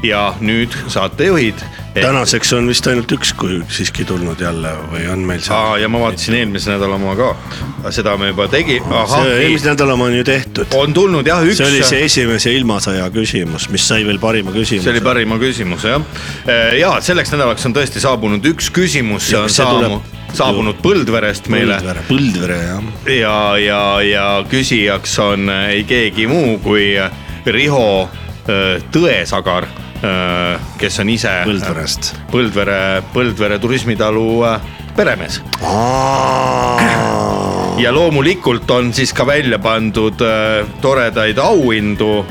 ja nüüd saatejuhid .
tänaseks on vist ainult üks , kui siiski tulnud jälle või on meil see ?
ja ma vaatasin eelmise nädala oma ka , seda me juba tegi ,
see
ahah ,
eelmise nädala oma on ju tehtud .
on tulnud jah Oh, üks .
see oli see esimese ilmasõja küsimus , mis sai veel parima küsimuse .
see oli parima küsimuse jah . ja selleks nädalaks on tõesti saabunud üks küsimus , see
Ja
on
see
saabu-
tuleb-
saabunud Põldverest meile
Põldvere , Põldvere jah .
ja , ja , ja küsijaks on äh, ei keegi muu kui äh, Riho äh, Tõesagar , kes on ise äh,
Põldverest. ,
Põldvere , Põldvere turismitalu äh, peremees . ja loomulikult on siis ka välja pandud äh, toredaid auhindu ,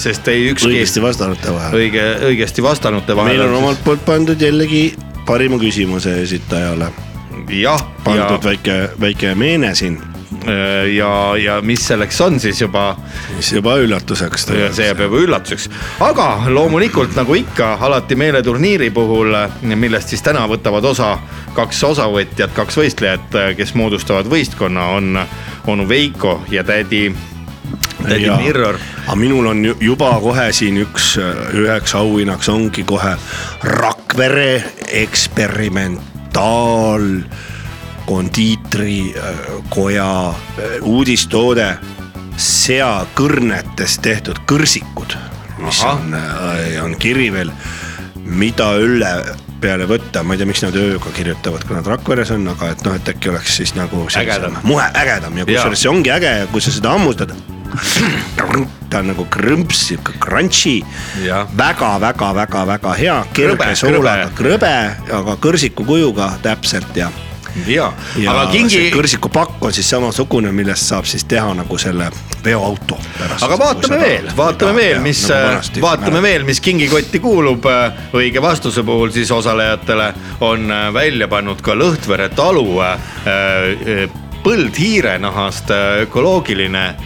sest ei ükski
õigesti vastanute vahel .
õige , õigesti vastanute vahel .
meil on omalt poolt pandud jällegi parima küsimuse esitajale
jah ,
pandud
ja ,
väike , väike meene siin ,
Äh, ja , ja mis selleks on siis juba ,
mis juba üllatuseks
see jääb juba üllatuseks . aga loomulikult nagu ikka alati meeleturniiri puhul , millest siis täna võtavad osa kaks osavõtjat , kaks võistlejat , kes moodustavad võistkonna , on onu Veiko ja tädi , tädi
Jaa.
Mirror .
aga minul on ju- juba kohe siin üks , üheks auhinnaks ongi kohe Rakvere eksperimentaal kondiitrikoja äh, uudistoode seakõrnetest tehtud kõrsikud , mis
Ahah.
on , on kiri veel , mida õlle peale võtta , ma ei tea , miks nad ööga kirjutavad , kui nad Rakveres on , aga et noh , et äkki oleks siis nagu
Ägedam.
muhe ägedam ja kusjuures see ongi äge ja kui sa seda hammustad , ta on nagu krõmps , sihuke crunchy
Jah. .
väga-väga-väga-väga hea , kerge
Krõbe,
soolaga , krõbe , aga kõrsiku kujuga täpselt ja .
ja, ja ,
ja
aga
see
kingi ,
kõrsikupakk on siis samasugune , millest saab siis teha nagu selle veoauto pärast .
aga vaatame veel , nagu vaatame veel , mis ,
Nagu
vaatame . veel , mis kingikotti kuulub . õige vastuse puhul siis osalejatele on äh, välja pannud ka Lõhtvere talu äh, äh, põldhiirenahast äh, ökoloogiline äh,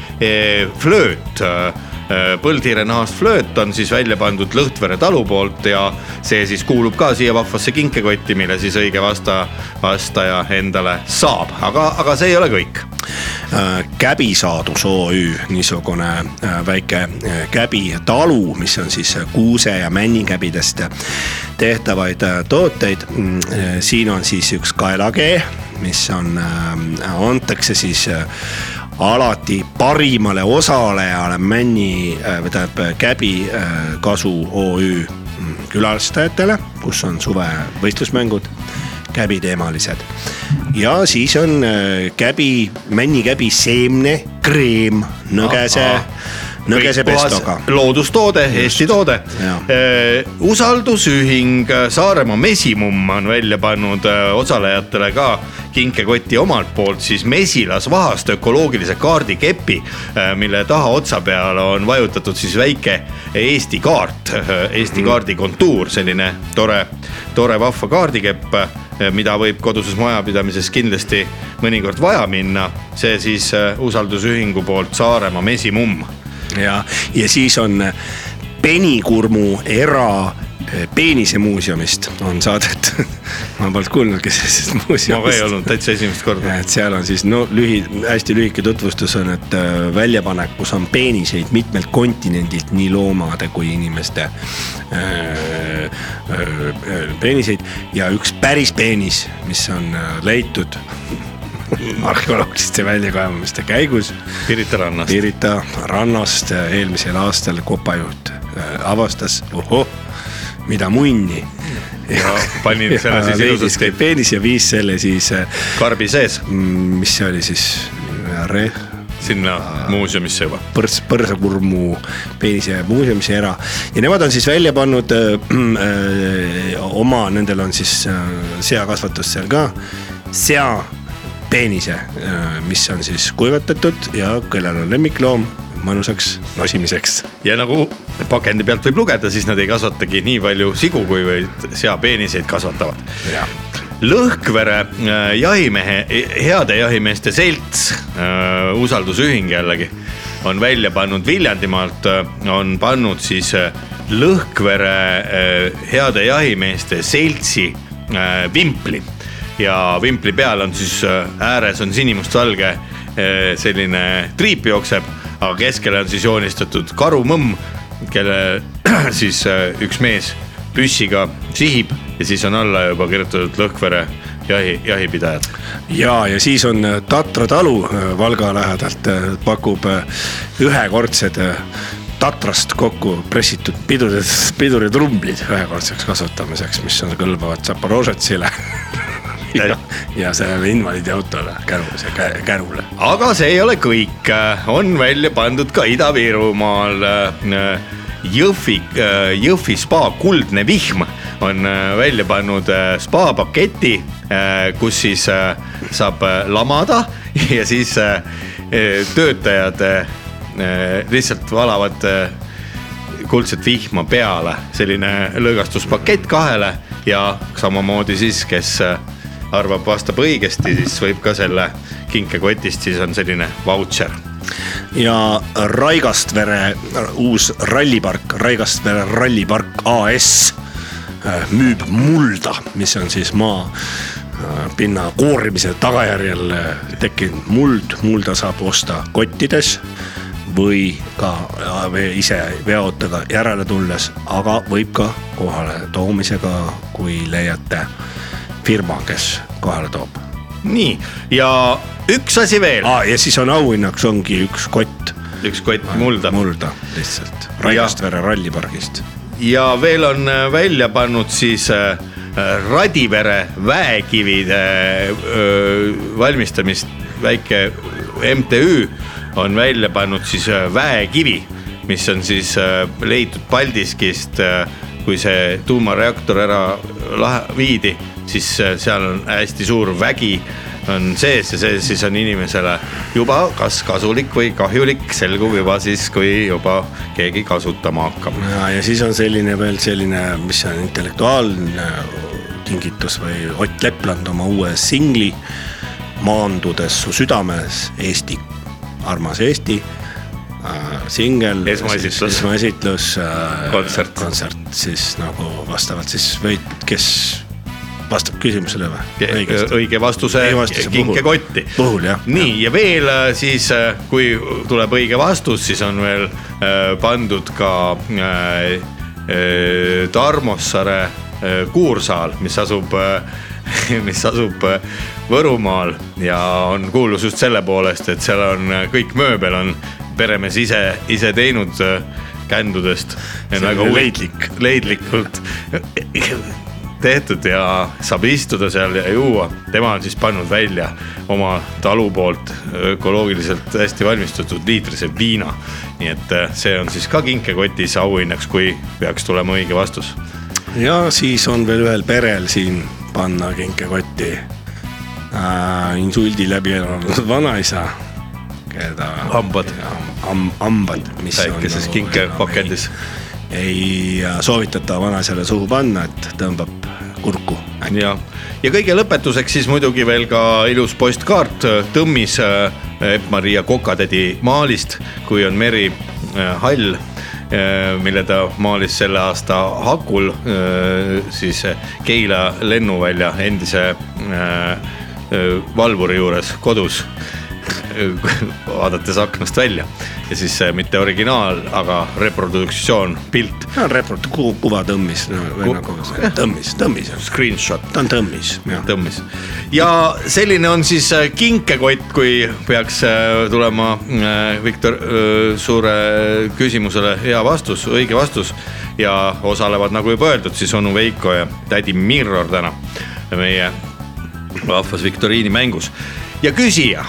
flööt äh, põldhiire nahast flööt on siis välja pandud Lõhtvere talu poolt ja see siis kuulub ka siia vahvasse kinkekotti , mille siis õige vasta , vastaja endale saab , aga , aga see ei ole kõik .
Käbisaadus OÜ , Äh, niisugune äh, väike äh, käbitalu , mis on siis äh, kuuse ja männikäbidest tehtavaid äh, tooteid . siin on siis üks kaelakee , mis on , antakse siis äh, alati parimale osalejale männi , või tähendab käbi äh, kasu OÜ mm, külastajatele , kus on suvevõistlusmängud käbiteemalised . ja siis on äh, käbi , männikäbi seemne , kreem , nõgese , nõgese pestoga .
loodustoode , Eesti toode Äh,
Jaa. .
usaldusühing äh, Saaremaa Mesimum on välja pannud eh, osalejatele ka kinkekoti omalt poolt siis mesilasvahast ökoloogilise kaardikepi , mille taha otsa peale on vajutatud siis väike Eesti kaart , Eesti kaardi kontuur , selline tore , tore vahva kaardikepp eh, mida võib koduses majapidamises kindlasti mõnikord vaja minna , see siis eh, usaldusühingu poolt Saaremaa Mesimumm
ja , ja siis on äh, penikurmu era äh, peenisemuuseumist on saadet , [laughs] ma polnud kuulnudki sellisest
ma ka ei
muuseumist
olnud täitsa esimest korda .
et seal on siis no lühi , hästi lühike tutvustus on , et äh, väljapanekus on peeniseid mitmelt kontinendilt , nii loomade kui inimeste äh, äh, peeniseid ja üks päris peenis , mis on äh, leitud [laughs] arheoloogiliste väljakaevamiste käigus
Pirita rannast .
Pirita rannast äh, eelmisel aastal kopajuht äh, avastas , ohoh , mida munni .
Ja panin selle siis ilusasti-
peenis ja viis selle siis äh,
karbi sees .
Mm, mis see oli siis ,
sinna muuseumisse juba .
põrs , põrsakurmu peenise muuseumisse ära ja nemad on siis välja pannud äh, äh, oma , nendel on siis äh, seakasvatus seal ka , sea peenise äh, , mis on siis kuivatatud ja kellel on lemmikloom mõnusaks nosimiseks .
ja nagu pakendi pealt võib lugeda , siis nad ei kasvatagi nii palju sigu , kui vaid seapeeniseid kasvatavad . Lõhkvere äh, jahimehe , heade jahimeeste selts , usaldusühing jällegi , on välja pannud Viljandimaalt , on pannud siis äh, Lõhkvere äh, heade jahimeeste seltsi äh, vimpli ja vimpli peal on siis äh, ääres on sinimustvalge äh, selline triip jookseb , aga keskele on siis joonistatud karumõmm , kelle [clears throat] siis äh, üks mees püssiga sihib ja siis on alla juba kirjutatud Lõhkvere jahi , jahipidajad .
ja , ja siis on äh, Tatra talu äh, Valga lähedalt äh, pakub äh, ühekordsed äh, Tatrast kokku pressitud pidurid , piduritrumbid ühekordseks kasutamiseks , mis on kõlbavad Zaporožetsile [laughs] ja, ja sellele invaliidiautole kärule , kärule .
aga see ei ole kõik , on välja pandud ka Ida-Virumaal äh, Jõhvi , Jõhvi spa Kuldne Vihm on äh, välja pannud äh, spa paketi , kus siis äh, saab äh, lamada [laughs] ja siis äh, äh, töötajad äh, äh, lihtsalt valavad äh, kuldset vihma peale , selline lõõgastuspakett kahele ja samamoodi siis , kes äh, arvab , vastab õigesti , siis võib ka selle kinkekotist , siis on selline vautšer .
ja Raigastvere uus rallipark , Raigastvere rallipark AS äh, müüb mulda , mis on siis maa äh, pinna koorimise tagajärjel äh, tekkinud muld , mulda saab osta kottides või ka äh, ve- ise veoautoga järele tulles , aga võib ka kohale toomisega , kui leiate firma , kes kohale toob
nii , ja üks asi veel ,
ah, . ja siis on auhinnaks ongi üks kott
üks kott mulda
mulda lihtsalt , Raigastvere rallipargist .
ja veel on äh, välja pannud siis äh, Radivere väekivide öö, valmistamist väike MTÜ on välja pannud siis äh, väekivi , mis on siis äh, leitud Paldiskist , kui see tuumareaktor ära lahe- viidi , siis äh, seal on hästi suur vägi on sees ja see siis on inimesele juba kas kasulik või kahjulik , selgub juba siis , kui juba keegi kasutama hakkab .
ja , ja siis on selline veel selline , mis on intellektuaalne kingitus või Ott Lepland oma uue singli Maandudes su südames , Eesti , armas Eesti äh, singel .
Esmaesitlus.
esmaesitlus äh, .
Kontsert.
kontsert siis nagu vastavalt siis või kes vastab küsimusele või ?
õige vastuse
Õige vastuse puhul.
kinkekotti .
Puhul, jah.
nii ja veel äh, siis , kui tuleb õige vastus , siis on veel äh, pandud ka äh, äh, Tarmossaare äh, kuursaal , mis asub äh, , [laughs] mis asub äh, Võrumaal ja on kuulus just selle poolest , et seal on äh, kõik mööbel on peremees ise , ise teinud äh, kändudest . leidlik . leidlikult tehtud ja saab istuda seal ja juua . tema on siis pannud välja oma talu poolt ökoloogiliselt hästi valmistatud liitrise viina . nii et äh, see on siis ka kinkekotis auhinnaks , kui peaks tulema õige vastus .
ja siis on veel ühel perel siin panna kinkekotti äh, insuldi läbi elanud [laughs] vanaisa , keda .
Hambad.
Ham- , hambad , mis .
väikeses kinkepakendis .
ei äh, soovitata vanaisale suhu panna , et tõmbab kurku .
ja , ja kõige lõpetuseks siis muidugi veel ka ilus postkaart Tõmmis äh, Epp-Maria Kokatädi maalist , kui on meri äh, hall , mille ta maalis selle aasta hakul äh, siis Keila lennuvälja endise äh, äh, valvuri juures kodus [laughs] vaadates aknast välja ja siis äh, mitte originaal , aga reproduktsioon , pilt ,
ta on reprot- , kuva tõmmis no, või nagu see- tõmmis , tõmmis ,
screenshot .
ta on tõmmis , jah .
tõmmis . ja selline on siis äh, kinkekott , kui peaks äh, tulema äh, Viktor äh, Suure küsimusele hea vastus , õige vastus . ja osalevad , nagu juba öeldud , siis onu Veiko ja tädi Mirror täna meie rahvas viktoriini mängus ja küsija ,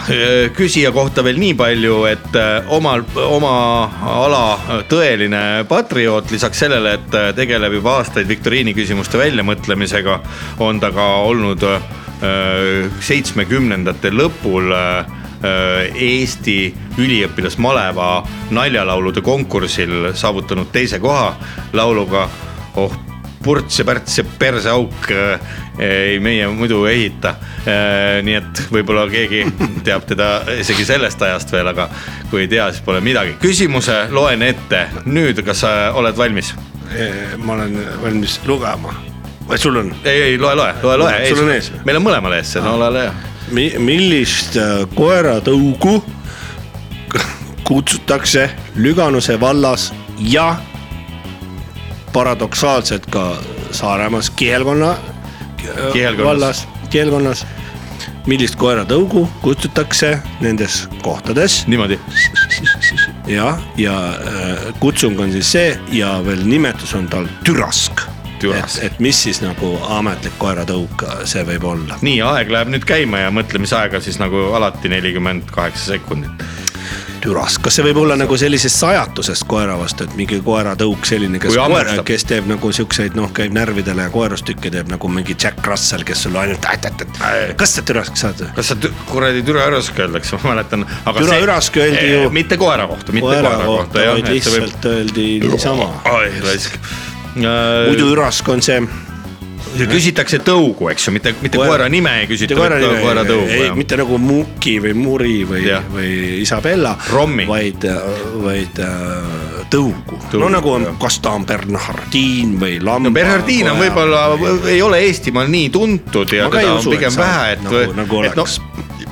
küsija kohta veel nii palju , et äh, omal , oma ala tõeline patrioot , lisaks sellele , et äh, tegeleb juba aastaid viktoriini küsimuste väljamõtlemisega , on ta ka olnud seitsmekümnendate lõpul äh, äh, Eesti üliõpilasmaleva naljalaulude konkursil saavutanud teise koha lauluga Oh purts ja pärts ja perseauk äh, ei meie muidu ei ehita . nii et võib-olla
[laughs]
keegi teab teda isegi sellest ajast veel , aga kui ei tea , siis pole midagi . küsimuse loen ette nüüd , kas sa oled valmis ?
E, ma olen valmis lugema . või sul on ?
ei , ei loe , loe , loe , loe .
Sul on ees või? Ah.
meil on mõlemal ees see , no ole , ole hea .
Mi- , millist äh, koeratõugu k- kutsutakse Lüganuse vallas ja paradoksaalselt ka Saaremaas kihelkonna äh,
Kihelkonnas.
vallas , kihelkonnas , millist koeratõugu kutsutakse nendes kohtades
niimoodi .
ja , ja äh, kutsung on siis see ja veel nimetus on tal türask .
Türask.
et , et mis siis nagu ametlik koeratõuk see võib olla .
nii , aeg läheb nüüd käima ja mõtlemisaega siis nagu alati nelikümmend kaheksa sekundit .
türas , kas see võib olla nagu sellisest sajatusest koera vastu , et mingi koeratõuk selline , kes
Kui , hammustab.
kes teeb nagu siukseid noh , käib närvidele ja koerustükke teeb nagu mingi Jack Russell , kes sulle ainult ätätät , kas sa türask saad ?
kas sa tü- kuradi türaürask öeldakse , ma mäletan .
Türaürask öeldi ju-
mitte koera kohta , mitte
koera kohta ,
jah,
vaid
et see võib-
lihtsalt öeldi niisama .
ai raisk .
muidu ürask on see .
küsitakse tõugu , eks ju , mitte , mitte koera, koera nime ei küsita , vaid koera, koera
ei ,
tõugu .
mitte nagu Muki või Muri või
Jah. ,
või Isabella ,
Rommi.
vaid , vaid äh, tõugu, tõugu ,
Tõugu,
no nagu on
jah. ,
kas ta on Bernhardiin või Lamba .
no Bernhardiin on võib-olla , ei ole Eestimaal nii tuntud ja
Ma ka ei
teda
usu,
on pigem
et sa-
vähe , et
nagu- nagu
et noh
oleks. ,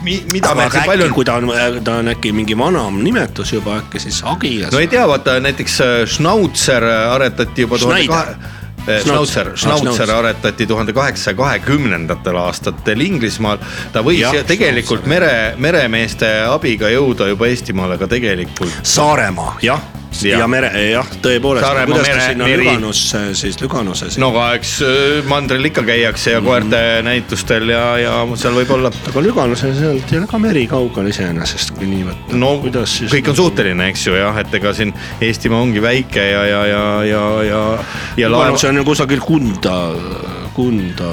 mida
aga
me
äkki
siin
palju...
palju ,
kui ta on , ta on äkki mingi vanam nimetus juba äkki siis Agias
no ei tea , vaata näiteks äh, Schnauzer äh, aretati juba tuhande
Schneider.
kahe . Schnauzer ,
Ah,
Schnauzer
Schnauzer.
aretati tuhande kaheksasaja kahekümnendatel aastatel Inglismaal . ta võis
Jah,
ja, tegelikult mere , meremeeste abiga jõuda juba Eestimaale , aga tegelikult
Saaremaa , jah ,
Jah.
ja, ja mere , jah , tõepoolest .
Saaremaa
kuidas ta
mere-
sinna
meri.
Lüganusse siis , Lüganusse siis no. ?
no aga eks öö, mandril ikka käiakse ja
Mhm.
koerte näitustel ja , ja seal võib olla .
aga Lüganuse sealt ei ole ka meri kaugel iseenesest , kui nii võtta .
no
Kuidas siis- nagu-
kõik on suhteline , eks ju jah , et ega siin Eestimaa ongi väike ja , ja , ja , ja , ja , ja
Lüganus
laev
on ju kusagil Kunda , Kunda ,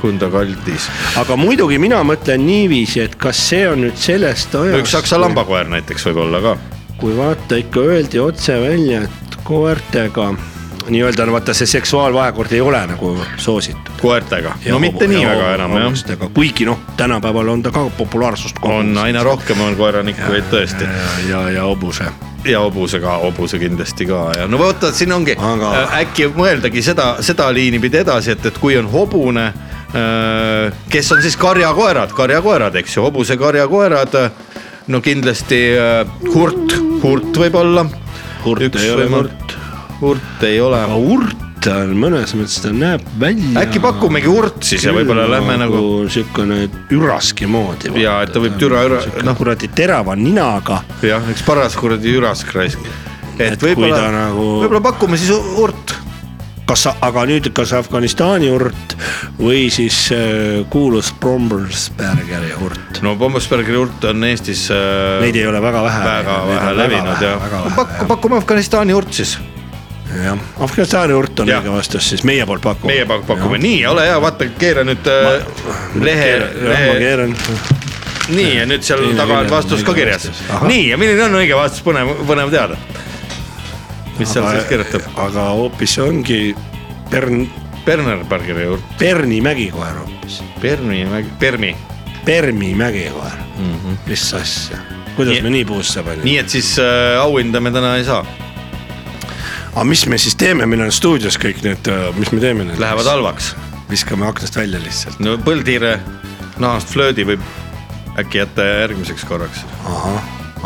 Kunda kaldis .
aga muidugi mina mõtlen niiviisi , et kas see on nüüd sellest ajast .
üks saksa . lambakoer näiteks võib olla ka .
kui vaata ikka öeldi otse välja , et koertega nii-öelda no vaata see seksuaalvahekord ei ole nagu soositud .
koertega , no mitte nii väga enam jah .
jah . kuigi noh , tänapäeval on ta ka populaarsust
on . aina rohkem on koeranikuid tõesti
ja , ja hobuse .
ja hobuse ka , hobuse kindlasti ka ja no vaata , siin ongi Aga...
Aga-
äkki mõeldagi seda , seda liini pidi edasi , et , et kui on hobune , kes on siis karjakoerad , karjakoerad , eks ju , hobuse karjakoerad . no kindlasti öö, hurt , hurt võib-olla .
Hurt ei ole hurt. .
hurt ei ole .
aga urt on mõnes mõttes , ta näeb välja .
äkki pakumegi hurt siis ja võib-olla lähme nagu .
siukene üraski moodi .
Jaa, et ta võib türa- üra-
noh
noh.
kuradi terava ninaga .
jah , üks paras kuradi ürask raisk . et
Et kui
võib-olla
ta , nagu-
võib-olla pakume siis hurt
kas , aga nüüd , kas Afganistani urt või siis äh, kuulus Brombersbergeri urt ?
no Bombersbergi hurt on Eestis äh,
Neid ei ole väga vähe .
väga vähe levinud ja
jah .
pakku , pakume Afganistani urt siis .
jah , Afganistani urt on
Jah.
õige vastus siis meie poolt pakume .
meie pak- pakume , nii , ole hea , vaata , keera nüüd äh, lehe ,
jah , ma
lehe ,
keeran .
nii ja nüüd seal
Teine
taga on
kirjand-
vastus ka
õige
kirjas
vastus. . Ahah.
nii ja milline on õige vastus , põnev , põnev teada . mis seal siis kirjutab ??
aga hoopis ongi Pern ,
Berner Bergeri juurde ,
Perni mägikoer hoopis ,
Permi , Permi ,
Permi mägikoer mm . -hmm. mis asja ,
Mhm. Nii-
kuidas nii. me nii puusse panime ?
nii et siis äh, auhinda me täna ei saa ,
aga mis me siis teeme , meil on stuudios kõik need , mis me teeme nüüd ?
lähevad halvaks .
viskame aknast välja lihtsalt .
no põldhiire nahast flöödi võib äkki jätta järgmiseks korraks .
ahah ,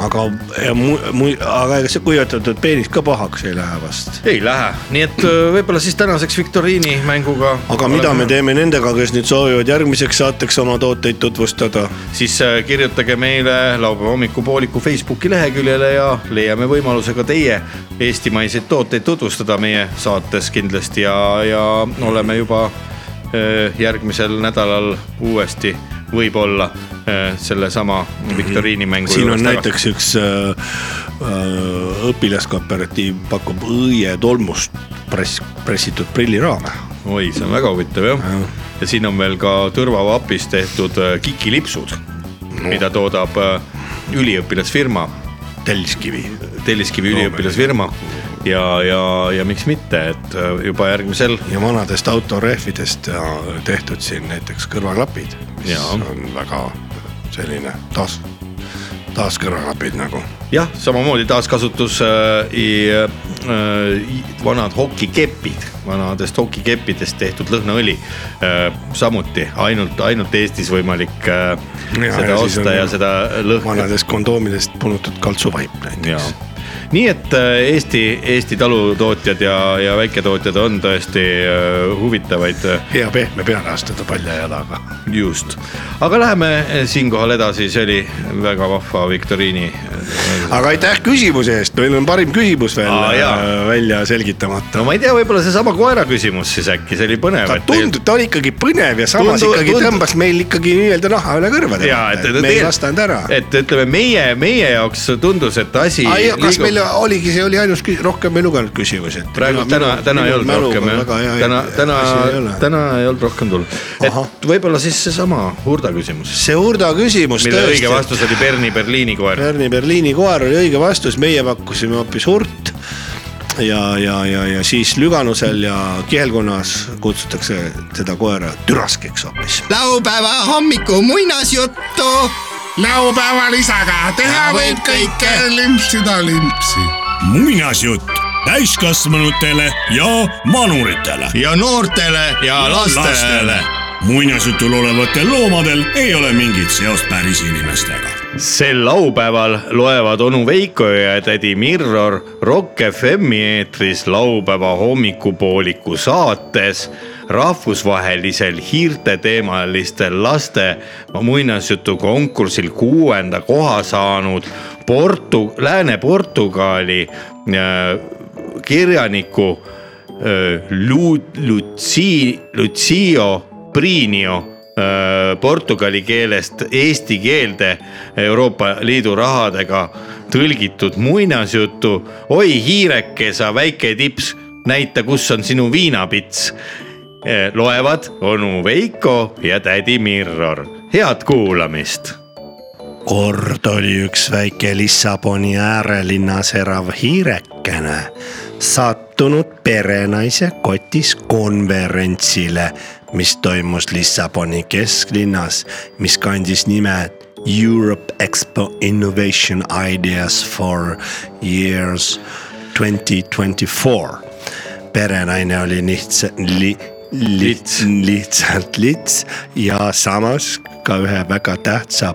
aga ja mu, mu, aga ega see kuivatatud peenis ka pahaks ei lähe vast .
ei lähe , nii et äh, võib-olla siis tänaseks viktoriini mänguga .
aga mida me teeme nendega , kes nüüd soovivad järgmiseks saateks oma tooteid tutvustada ?
siis äh, kirjutage meile laupäeva hommikupooliku Facebooki leheküljele ja leiame võimaluse ka teie eestimaiseid tooteid tutvustada meie saates kindlasti ja , ja oleme juba äh, järgmisel nädalal uuesti võib-olla äh, sellesama viktoriini mängu
Mhm. siin on näiteks üks äh, äh, õpilaskooperatiiv pakub õietolmust press , pressitud prilliraame .
oi , see on väga huvitav jah . ja siin on veel ka tõrvavapist tehtud äh, kikilipsud no. , mida toodab äh, üliõpilasfirma .
Telliskivi .
Telliskivi üliõpilasfirma ja , ja , ja miks mitte , et äh, juba järgmisel .
ja vanadest autorehvidest ja tehtud siin näiteks kõrvaklapid , mis ja.
Jaa.
on väga selline taas , taas kõrvaklapid nagu .
jah , samamoodi taaskasutus äh, i- äh, vanad hokikepid , vanadest hokikeppidest tehtud lõhnaõli äh, . samuti ainult , ainult Eestis võimalik äh, ja, seda ja osta ja seda lõhna .
vanadest kondoomidest punutud kaltsuvaip näiteks .
nii et äh, Eesti , Eesti talutootjad ja , ja väiketootjad on tõesti äh, huvitavaid .
hea pehme peale astuda palja jalaga .
just , aga läheme äh, siinkohal edasi , see oli väga vahva viktoriini äh,
aga aitäh küsimuse eest , meil on parim küsimus veel
Aa, jaa.
äh, välja selgitamata .
no ma ei tea , võib-olla seesama koera küsimus siis äkki , see oli põnev .
ta tundub , ta oli ikkagi põnev ja samas
Tundu-
tundu, ikkagi
tundu-
tundu. tõmbas meil ikkagi nii-öelda naha üle kõrvade .
ja et, et,
me ei vastanud ära .
et ütleme , meie , meie jaoks tundus , et asi .
kas meil oligi , see oli ainus , rohkem ei lugenud küsimusi .
praegu täna , täna ei olnud rohkem jah , täna , täna , täna ei olnud rohkem tulnud . et võib-olla siis seesama Hurda küsimus .
see Hurda küsimus
mille
tõesti,
õige
et-
vastus oli Berni Berliini koer .
Pärni Berliini koer oli õige vastus , meie pakkusime hoopis hurt . ja , ja , ja , ja siis Lüganusel ja Kihelkonnas kutsutakse seda koera türaskiks hoopis .
laupäeva hommiku muinasjuttu . laupäeva lisaga teha võib kõike .
limpsida limpsi . muinasjutt täiskasvanutele ja manuritele .
ja noortele ja lastele, lastele. .
muinasjutul olevatel loomadel ei ole mingit seost päris inimestega .
sel laupäeval loevad onu Veiko ja tädi Mirror Rock FM-i eetris laupäeva hommikupooliku saates rahvusvahelisel hiirteteemalistel laste muinasjutu konkursil kuuenda koha saanud Portu- , Lääne-Portugali äh, kirjaniku äh, Lu- , Lutsi- , Lutsio Priinio äh, portugali keelest eesti keelde Euroopa Liidu rahadega tõlgitud muinasjutu . oi hiireke , sa väike tips , näita , kus on sinu viinapits . loevad onu Veiko ja tädi Mirror , head kuulamist .
kord oli üks väike Lissaboni äärelinnas elav hiirekene sattunud perenaise kotis konverentsile , mis toimus Lissaboni kesklinnas , mis kandis nime Europe Expo Innovation Ideas for Years twenty twenty four . perenaine oli lihtsalt li, , lits , lihtsalt lits ja samas ka ühe väga tähtsa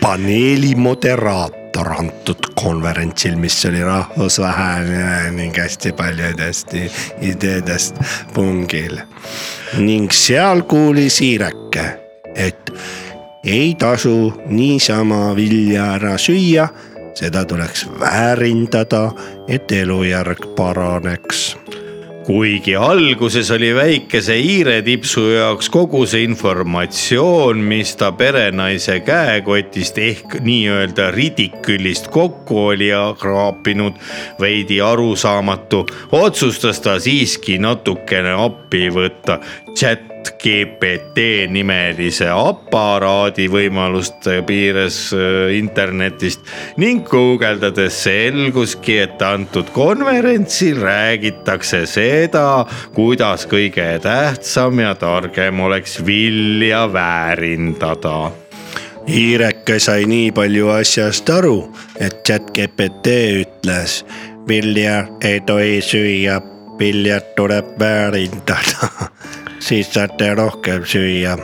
paneeli moderaator antud konverentsil , mis oli rahvusvaheline ning hästi paljudest i- ideedest pungil . ning seal kuulis Hiireke , et ei tasu niisama vilja ära süüa , seda tuleks väärindada , et elujärg paraneks
kuigi alguses oli väikese hiiretipsu jaoks kogu see informatsioon , mis ta perenaise käekotist ehk nii-öelda ridikülist kokku oli ja- kraapinud , veidi arusaamatu , otsustas ta siiski natukene appi võtta chat GPT nimelise aparaadi võimaluste piires äh, internetist ning guugeldades selguski , et antud konverentsil räägitakse seda , kuidas kõige tähtsam ja targem oleks vilja väärindada .
hiireke sai nii palju asjast aru , et chatGPT ütles , vilja ei tohi süüa , viljad tuleb väärindada , [laughs] siis saate rohkem süüa .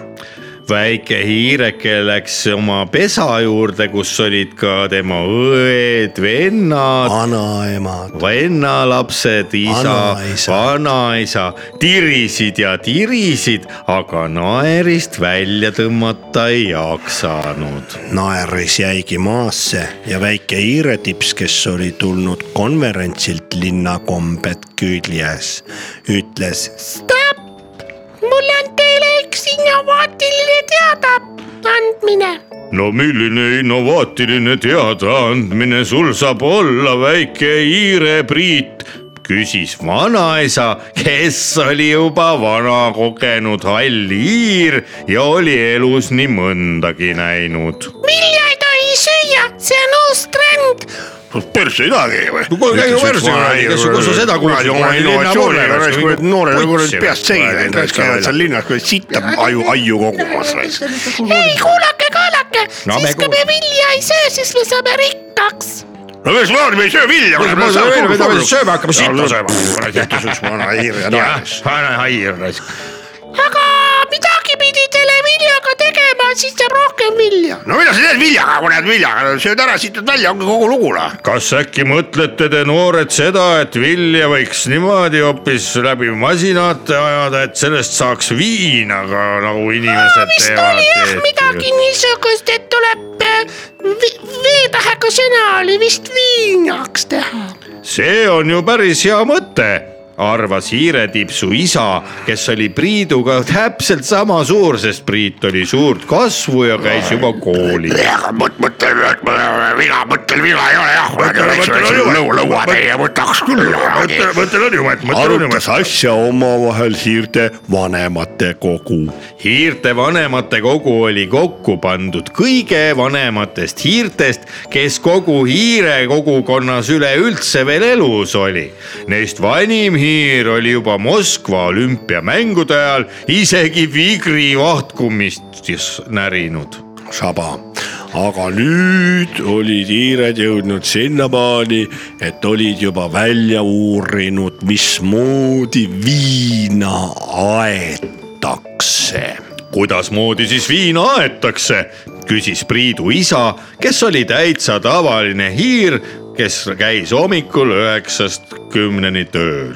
väike hiireke läks oma pesa juurde , kus olid ka tema õed , vennad .
vanaemad .
vennalapsed , isa ,
Vanaisa.
vanaisa tirisid ja tirisid , aga naerist välja tõmmata ei jaksanud .
naeris jäigi maasse ja väike hiiretips , kes oli tulnud konverentsilt linnakombed küljes , ütles
mul on teile üks innovaatiline teada .
no milline innovaatiline teadaandmine sul saab olla , väike Iire Priit , küsis vanaisa , kes oli juba vana kogenud hall hiir ja oli elus nii mõndagi näinud .
vilja ei tohi süüa , see on uus trend .
persse ei tahagi .
kuule käi ju värsse kuradi , kes su , kus sa seda kuulsid , kuradi linnapoole
kuradi , kuradi noored on kuradi peast seegi läinud , käivad seal linnas kuradi sitta aju , aiu kogumas .
ei , kuulake , kuulake
No
no, ,
me
siis kui me vilja ei söö , siis me saame rikkaks .
no miks ma arvan , me ei söö vilja .
Kuidas me sööme vilja, me sööme hakkame sitta
sööma . kuradi , ütles üks vana hiir ja naeris . vana hiir raisk .
aga midagi pidid selle viljaga tegema , siis saab rohkem vilja .
no mida sa teed viljaga , kui näed viljaga , sööd ära , situd välja , ongi kogu lugu noh .
kas äkki mõtlete te noored seda , et vilja võiks niimoodi hoopis läbi masinate ajada , et sellest saaks viina ka nagu inimesed
vist
teevad
oli jah midagi ?
Niin
niisugust , et tuleb äh, vi- veetähega sõna oli vist viinaks teha .
see on ju päris hea mõte , arvas hiiretipsu isa , kes oli Priiduga täpselt sama suur , sest Priit oli suurt kasvu ja käis juba koolis .
mõtlen , et ma viga , mõtlen viga ei ole jah . lõua , lõua teie võtaks küll .
mõtlen on juba , et
arutas asja omavahel hiirte vanematekogu .
hiirte vanematekogu oli kokku pandud kõige vanematest hiirtest , kes kogu hiire kogukonnas üleüldse veel elus oli . Neist vanim hiir oli juba Moskva olümpiamängude ajal isegi Vigri vahtkumist siis närinud .
saba , aga nüüd olid hiired jõudnud sinnamaani , et olid juba välja uurinud , mismoodi viina aetakse .
kuidasmoodi siis viina aetakse , küsis Priidu isa , kes oli täitsa tavaline hiir , kes käis hommikul üheksast kümneni tööl .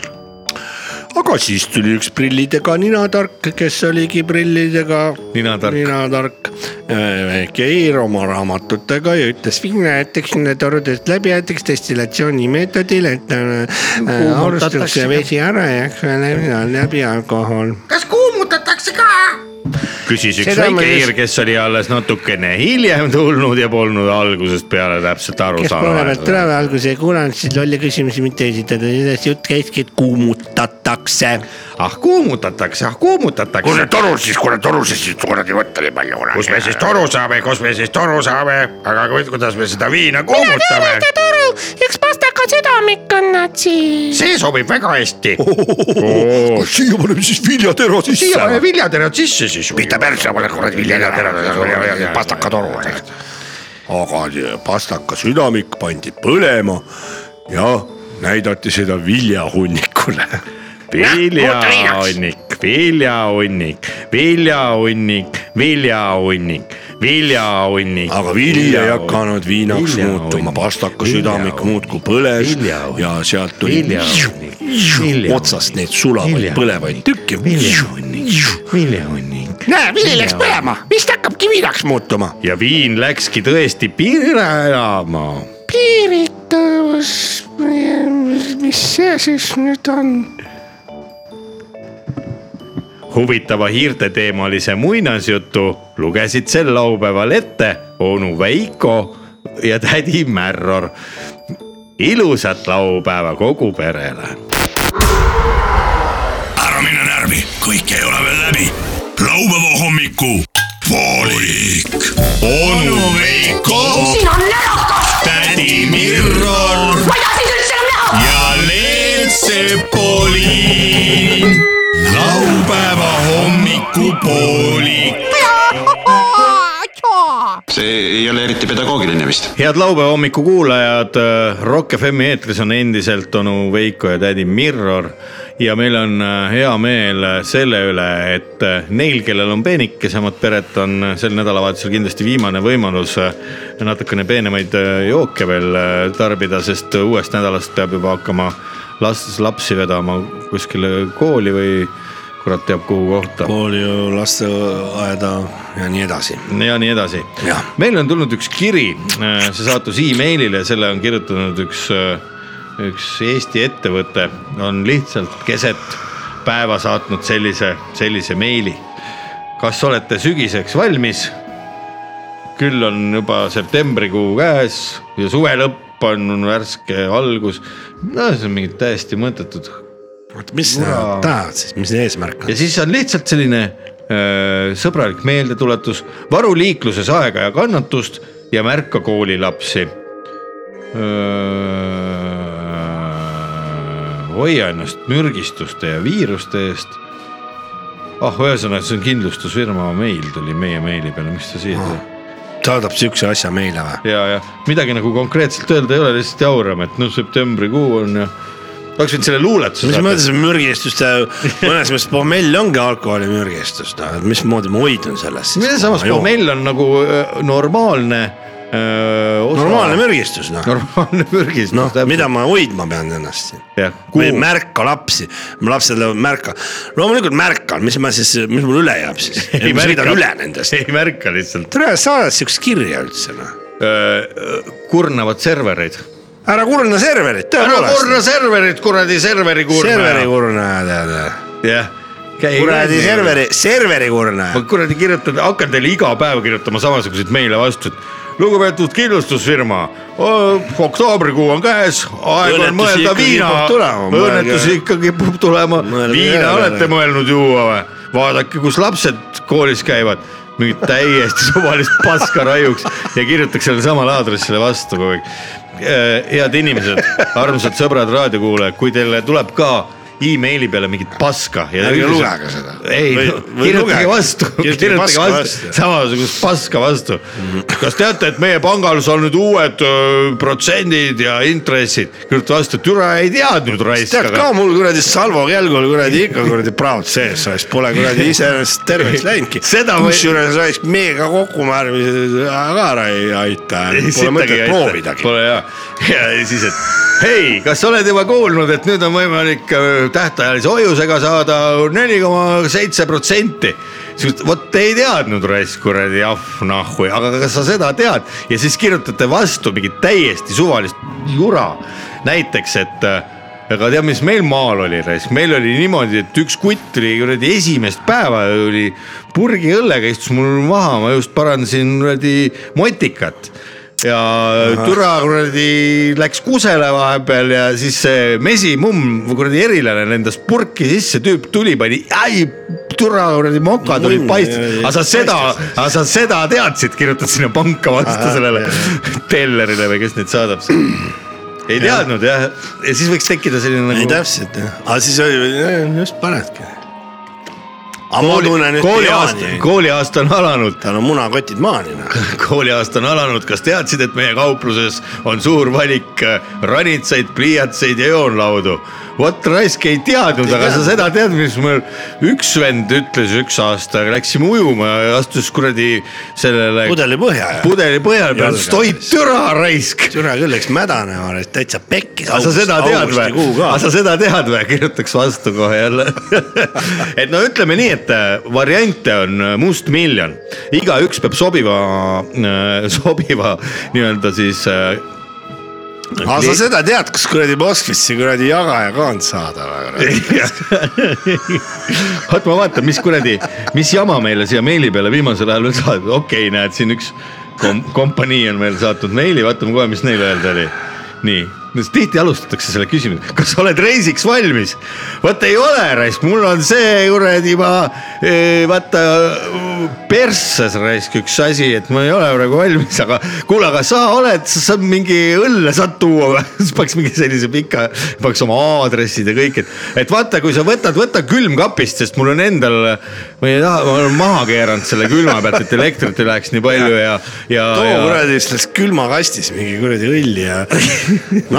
aga siis tuli üks prillidega ninatark , kes oligi prillidega
ninatark,
ninatark , väike hiir oma raamatutega ja ütles , viina aetakse nende torudest läbi , aetakse destillatsioonimeetodil , et äh,
Kuumutatakse
alustatakse
ka.
vesi ära ja eks ole , läbi alkohol
kas kuumutatakse ka ?
küsis üks
Seda ma
väike
just-
hiir , kes oli alles natukene hiljem tulnud ja polnud algusest peale täpselt aru
kes poole pealt
saanud .
tuleb , alguses ei kuulanud , siis lolle küsimusi mitte esitada , sellest jutt käiski , et kuumutatakse .
ah kuumutatakse , ah kuumutatakse .
kus need torud siis , kui need torud siis kuradi võtta nii palju kuradi .
kus me siis toru saame , kus me siis toru saame , aga ku- kuidas me seda viina
mina tean
kuumutame
ühte ? toru , üks pastaka südamik on nad siis .
see sobib väga hästi .
Oh, siia paneme siis viljatera sisse .
siia paneme viljaterad sisse siis .
pita persse , ma lähen kuradi viljaga , pastakatoru .
aga pastaka südamik pandi põlema ja näidati seda [laughs] viljahunnikule .
viljahunnik , viljahunnik , viljahunnik , viljahunnik , viljahunnik .
aga vili ei hakanud viinaks muutuma , pastaka südamik muudkui põles ja sealt tuli
viljahunnik,
[laughs] otsast neid sulavaid põlevaid tükke .
viljahunnik .
näe , vili läks põlema , vist hakkabki viinaks muutuma .
ja viin läkski tõesti piire elama
piiritus , mis see siis nüüd on ?
huvitava hiirteteemalise muinasjutu lugesid sel laupäeval ette onu Veiko ja tädi Märror . ilusat laupäeva kogu perele .
ära mine närvi , kõik ei ole veel läbi . laupäeva hommiku poolik . onu Veiko ,
sina närakas ,
tädi Mirro
ma ei taha sind üldse enam näha .
ja Leelsepoliin . laupäeva hommikupoolik .
see ei ole eriti pedagoogiline vist .
head laupäeva hommiku kuulajad , Rock FM-i eetris on endiselt onu Veiko ja tädi Mirror ja meil on äh, hea meel selle üle , et äh, neil , kellel on peenikesemad pered , on äh, sel nädalavahetusel kindlasti viimane võimalus äh, natukene peenemaid äh, jooke veel äh, tarbida , sest uuest nädalast peab juba hakkama last , lapsi vedama kuskile kooli või kurat teab kuhu kohta .
kooli , lasteaeda ja nii edasi .
ja nii edasi
Jah. .
meile on tulnud üks kiri , see sattus emailile , selle on kirjutanud üks , üks Eesti ettevõte on lihtsalt keset päeva saatnud sellise , sellise meili . kas olete sügiseks valmis ? küll on juba septembrikuu käes ja suve lõpp on värske algus . no see on mingi täiesti mõttetud .
oota , mis sa tahad siis , mis eesmärk
ja siis on lihtsalt selline öö, sõbralik meeldetuletus , varu liikluses aega ja kannatust ja märka koolilapsi . Äh, hoia ennast mürgistuste ja viiruste eest . ah , ühesõnaga , see on kindlustusfirma meil tuli meie meili peale , mis ta siia tuli ?
saadab siukse asja meile või ?
ja , ja midagi nagu konkreetselt öelda ei ole , lihtsalt jaurame , et noh , septembrikuu on ja oleks võinud selle luuletuse .
mis mõttes see mürgistuste , mõnes mõttes pomell ongi alkoholimürgistus , noh , et mismoodi ma hoidun sellest siis ? Noh,
samas pomell on nagu öö, normaalne .
normaalne mürgistus , noh .
normaalne mürgistus .
noh , mida ma hoidma pean ennast siin .
jah ,
ma ei märka lapsi , lapsed lähevad märka , loomulikult märkan , mis ma siis , mis mul üle jääb siis ,
[laughs] Ei
ma sõidan
märka.
üle nendest .
ei märka lihtsalt .
tere , sa oled siukest kirja üldse noh .
äh, kurnavad servereid .
ära kurna serverit , tõepoolest .
kurna serverit , kuradi serveri kurnaja.
serveri kurnaja tead või .
jah .
kuradi serveri , serveri kurnaja .
ma kuradi kirjutan , hakkan teile iga päev kirjutama samasuguseid meile vastu , et lugupeetud kindlustusfirma , oktoobrikuu on käes , aeg on
Õnnetusi
mõelda
ikkagi
viina
kipub , tulema, mõelge-
õnnetusi ikka kipub tulema ,
Mõelge
viina
järele.
olete mõelnud juua või ? vaadake , kus lapsed koolis käivad , mingit täiesti [laughs] suvalist paska raiuks ja kirjutaks sellele samale aadressile vastu kogu aeg . head inimesed , armsad sõbrad , raadiokuulajad , kui teile tuleb ka emaili peale mingit paska ja
Ärge
üldiselt-
lugege seda.
ei
Või- , või
kirjutage
lugege.
vastu ,
Kirjutage
kirjutage
paska
vastu
vastu. , Mhm.
samasugust paska vastu mm . -hmm. kas teate , et meie pangal on nüüd uued öö, protsendid ja intressid , kirjuta vastu , türa ei teadnud raisk .
tead ka mul kuradi salvo kelg oli kuradi ikka kuradi praod sees , siis pole kuradi iseenesest terveks läinudki .
Seda või-
kusjuures oleks meega kokkumäärimised ka ära ei aita , pole mõtet proovidagi .
Pole hea , ja siis , et hei , kas sa oled juba kuulnud , et nüüd on võimalik öö, tähtajalise hoiusega saada neli koma seitse protsenti . vot ei teadnud raisk , kuradi ah nahhu , aga kas sa seda tead ja siis kirjutate vastu mingit täiesti suvalist jura . näiteks , et öö, aga tead , mis meil maal oli raisk , meil oli niimoodi , et üks kutt oli kuradi esimest päeva oli purgi õllega istus mul maha , ma just parandasin kuradi motikat ja türa kuradi läks kusele vahepeal ja siis see mesimumm , kuradi erilane lendas purki sisse , tüüp tuli , pani ai , türa kuradi moka tuli
Mumm,
paistis
ja- , ja
aga sa seda ,
paistis.
aga sa seda teadsid , kirjutad sinna panka vastu
Ahah,
sellele [laughs] tellerile või kes neid saadab . ei teadnud jah , ja siis võiks tekkida selline
ei
nagu .
täpselt jah , aga siis oli , just panedki . aga ma tunnen
kooli ,
nüüd
kooliaasta , kooliaasta on alanud .
tal on munakotid maani noh .
kooliaasta on alanud , kas teadsid , et meie kaupluses on suur valik äh, ranitsaid , pliiatseid ja joonlaudu ? vot raisk ei teadnud , aga sa seda tead , mis mul üks vend ütles üks aasta , läksime ujuma ja astus kuradi sellele .
Pudeli põhja, jah?
pudeli põhja peal ,
Jalga
toit türa raisk .
türa küll läks mädanema , täitsa pekkis .
aga sa seda tead või ? aga sa seda tead või ? kirjutaks vastu kohe jälle . et no ütleme nii , et äh, variante on mustmiljon , igaüks peab sobiva , sobiva nii-öelda siis . äh,
aga sa seda tead , kas kuradi Moskvisse kuradi jagaja ka on saada või ?
oot , ma vaatan , mis kuradi , mis jama meile siia meili peale viimasel ajal veel saadab , okei okay, , näed siin üks kom kompanii on meile saatnud meili , vaatame kohe , mis neil öelda oli . nii , tihti alustatakse selle küsimusega , kas sa oled reisiks valmis ? vot ei ole raisk , mul on see kuradi , ma eh, vaata persses raisk üks asi , et ma ei ole praegu valmis , aga kuule , aga sa oled , sa saad mingi õlle saad tuua [laughs] või ? siis peaks mingi sellise pika , peaks oma aadressid ja kõik , et , et vaata , kui sa võtad , võta külmkapist , sest mul on endal , ma ei taha , ma olen maha keeranud selle külma pealt , et elektrit ei läheks nii palju ja , ja .
too kuradi selles külmakastis mingi kuradi õlli ja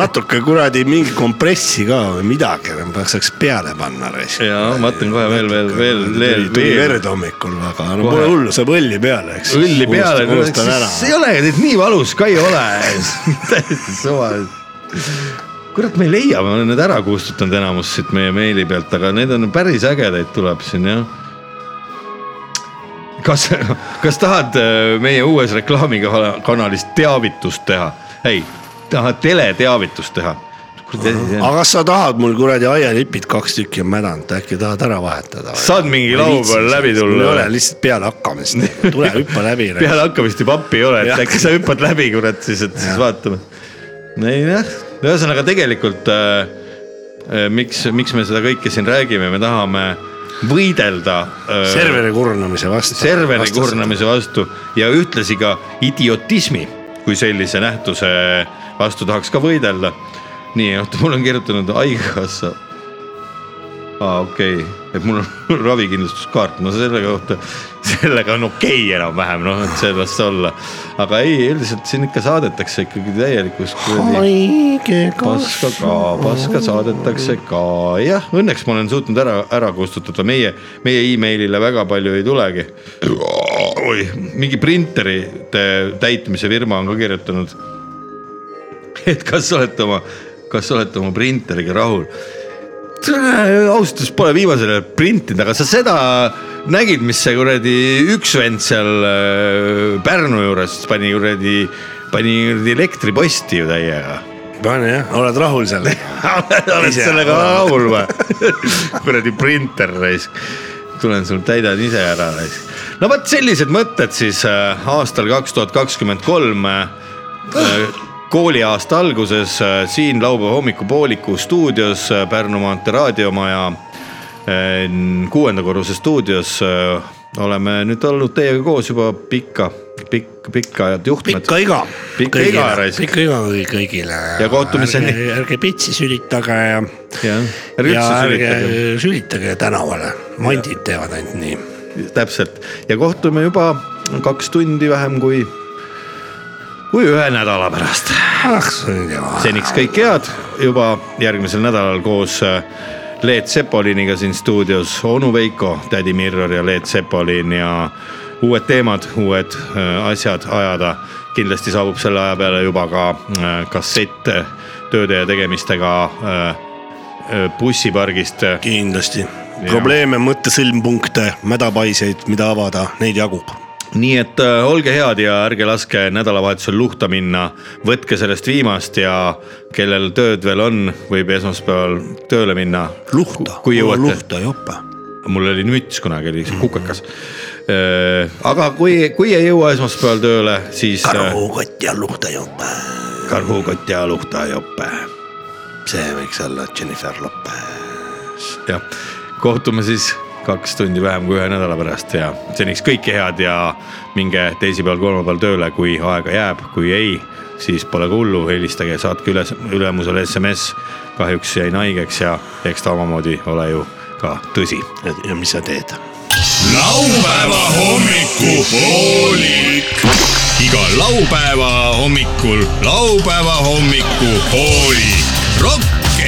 natuke kuradi mingi kompressi ka või midagi , peaks saaks peale panna .
ja ma vaatan kohe veel , veel , veel , veel ,
tuli
veel
verd hommikul , aga no
Kohe.
pole hullu , saab õlli peale , eks .
õlli peale ,
unustan ära .
see ei ole nüüd nii valus ka ei
[laughs]
ole . täiesti suva . kurat , me ei leia , ma olen need ära kustutanud enamus siit meie meili pealt , aga need on päris ägedaid tuleb siin jah . kas , kas tahad äh, meie uues reklaamikanalis teavitust teha ? ei , tahad teleteavitust teha ?
aga kas sa tahad mul kuradi aialipid kaks tükki on mädanud , äkki tahad ära vahetada ?
Saad mingi laupäeval läbi tulla?
mul ei ole lihtsalt peale
[laughs]
hakkamist , tule hüppa läbi .
peale hakkamist juba appi ei ole ,
Jah.
et äkki sa hüppad läbi , kurat , siis , et siis vaatame . ei noh , ühesõnaga tegelikult äh, äh, miks , miks me seda kõike siin räägime , me tahame võidelda äh,
serveri kurnamise vastu .
serveri . kurnamise vastu ja ühtlasi ka idiotismi kui sellise nähtuse vastu tahaks ka võidelda . nii , oota , mul on kirjutanud haigekassa . aa , okei okay. , et mul on [laughs] ravikindlustuskaart , no selle kohta , sellega on okei okay enam-vähem , noh , et see las olla . aga ei , üldiselt siin ikka saadetakse ikkagi täielikus . paska ka , paska saadetakse ka , jah , õnneks ma olen suutnud ära , ära kustutada , meie , meie emailile väga palju ei tulegi . oi , mingi printerite täitmise firma on ka kirjutanud . et kas olete oma , kas olete oma printeriga rahul ? ausalt öeldes pole viimasel ajal printinud , aga sa seda nägid , mis see kuradi üks vend seal äh, Pärnu juures pani kuradi , pani kuradi elektriposti ju täiega
pane jah , oled rahul sellega ?
oled
Ise
sellega
ära.
rahul või ? [laughs] kuradi printer raisk , tulen sul täidan ise ära raisk . no vot sellised mõtted siis äh, aastal kaks tuhat kakskümmend kolm . kooliaasta alguses äh, siin laupäeva hommikupooliku stuudios äh, Pärnu maantee raadiomaja äh, kuuenda korruse stuudios äh, oleme nüüd olnud teiega koos juba pikka , pikk , pikka ajat juhtmed .
[laughs] pikka iga .
pikka iga raisk .
ikka iga kõi- kõigile .
Ja kohtumiseni. .
ärge pitsi sülitage ja .
ärge
ja
üldse
ärge
sülitage.
sülitage tänavale , mandid teevad ainult nii .
täpselt ja kohtume juba kaks tundi vähem kui , kui ühe nädala pärast . seniks kõike head , juba järgmisel nädalal koos äh, Leet Sepoliniga siin stuudios , onu Veiko , tädi Mirror ja Leet Sepolin ja uued teemad , uued äh, asjad ajada . kindlasti saabub selle aja peale juba ka äh, kassett äh, tööde ja tegemistega äh, äh, bussipargist . äh,
kindlasti . probleeme , mõttesõlmpunkte , mädapaiseid , mida avada , neid jagub .
nii et äh, olge head ja ärge laske nädalavahetusel luhta minna , võtke sellest viimast ja kellel tööd veel on , võib esmaspäeval tööle minna . luhta , kui jõuate . luhta
jope .
mul oli müts kunagi , oli see kukekas . aga kui , kui ei jõua esmaspäeval tööle , siis . äh,
karukott ja luhta jope .
karukott ja luhta jope .
see võiks olla Jennifer Lopez .
jah , kohtume siis kaks tundi vähem kui ühe nädala pärast ja seniks kõike head ja minge teisipäeval , kolmapäeval tööle , kui aega jääb , kui ei , siis pole ka hullu , helistage , saatke üles , ülemusele SMS . kahjuks jäin haigeks ja eks ta omamoodi ole ju ka tõsi .
ja mis sa teed ?
laupäeva hommikupoolik .
iga laupäeva hommikul laupäeva hommikupooli Rock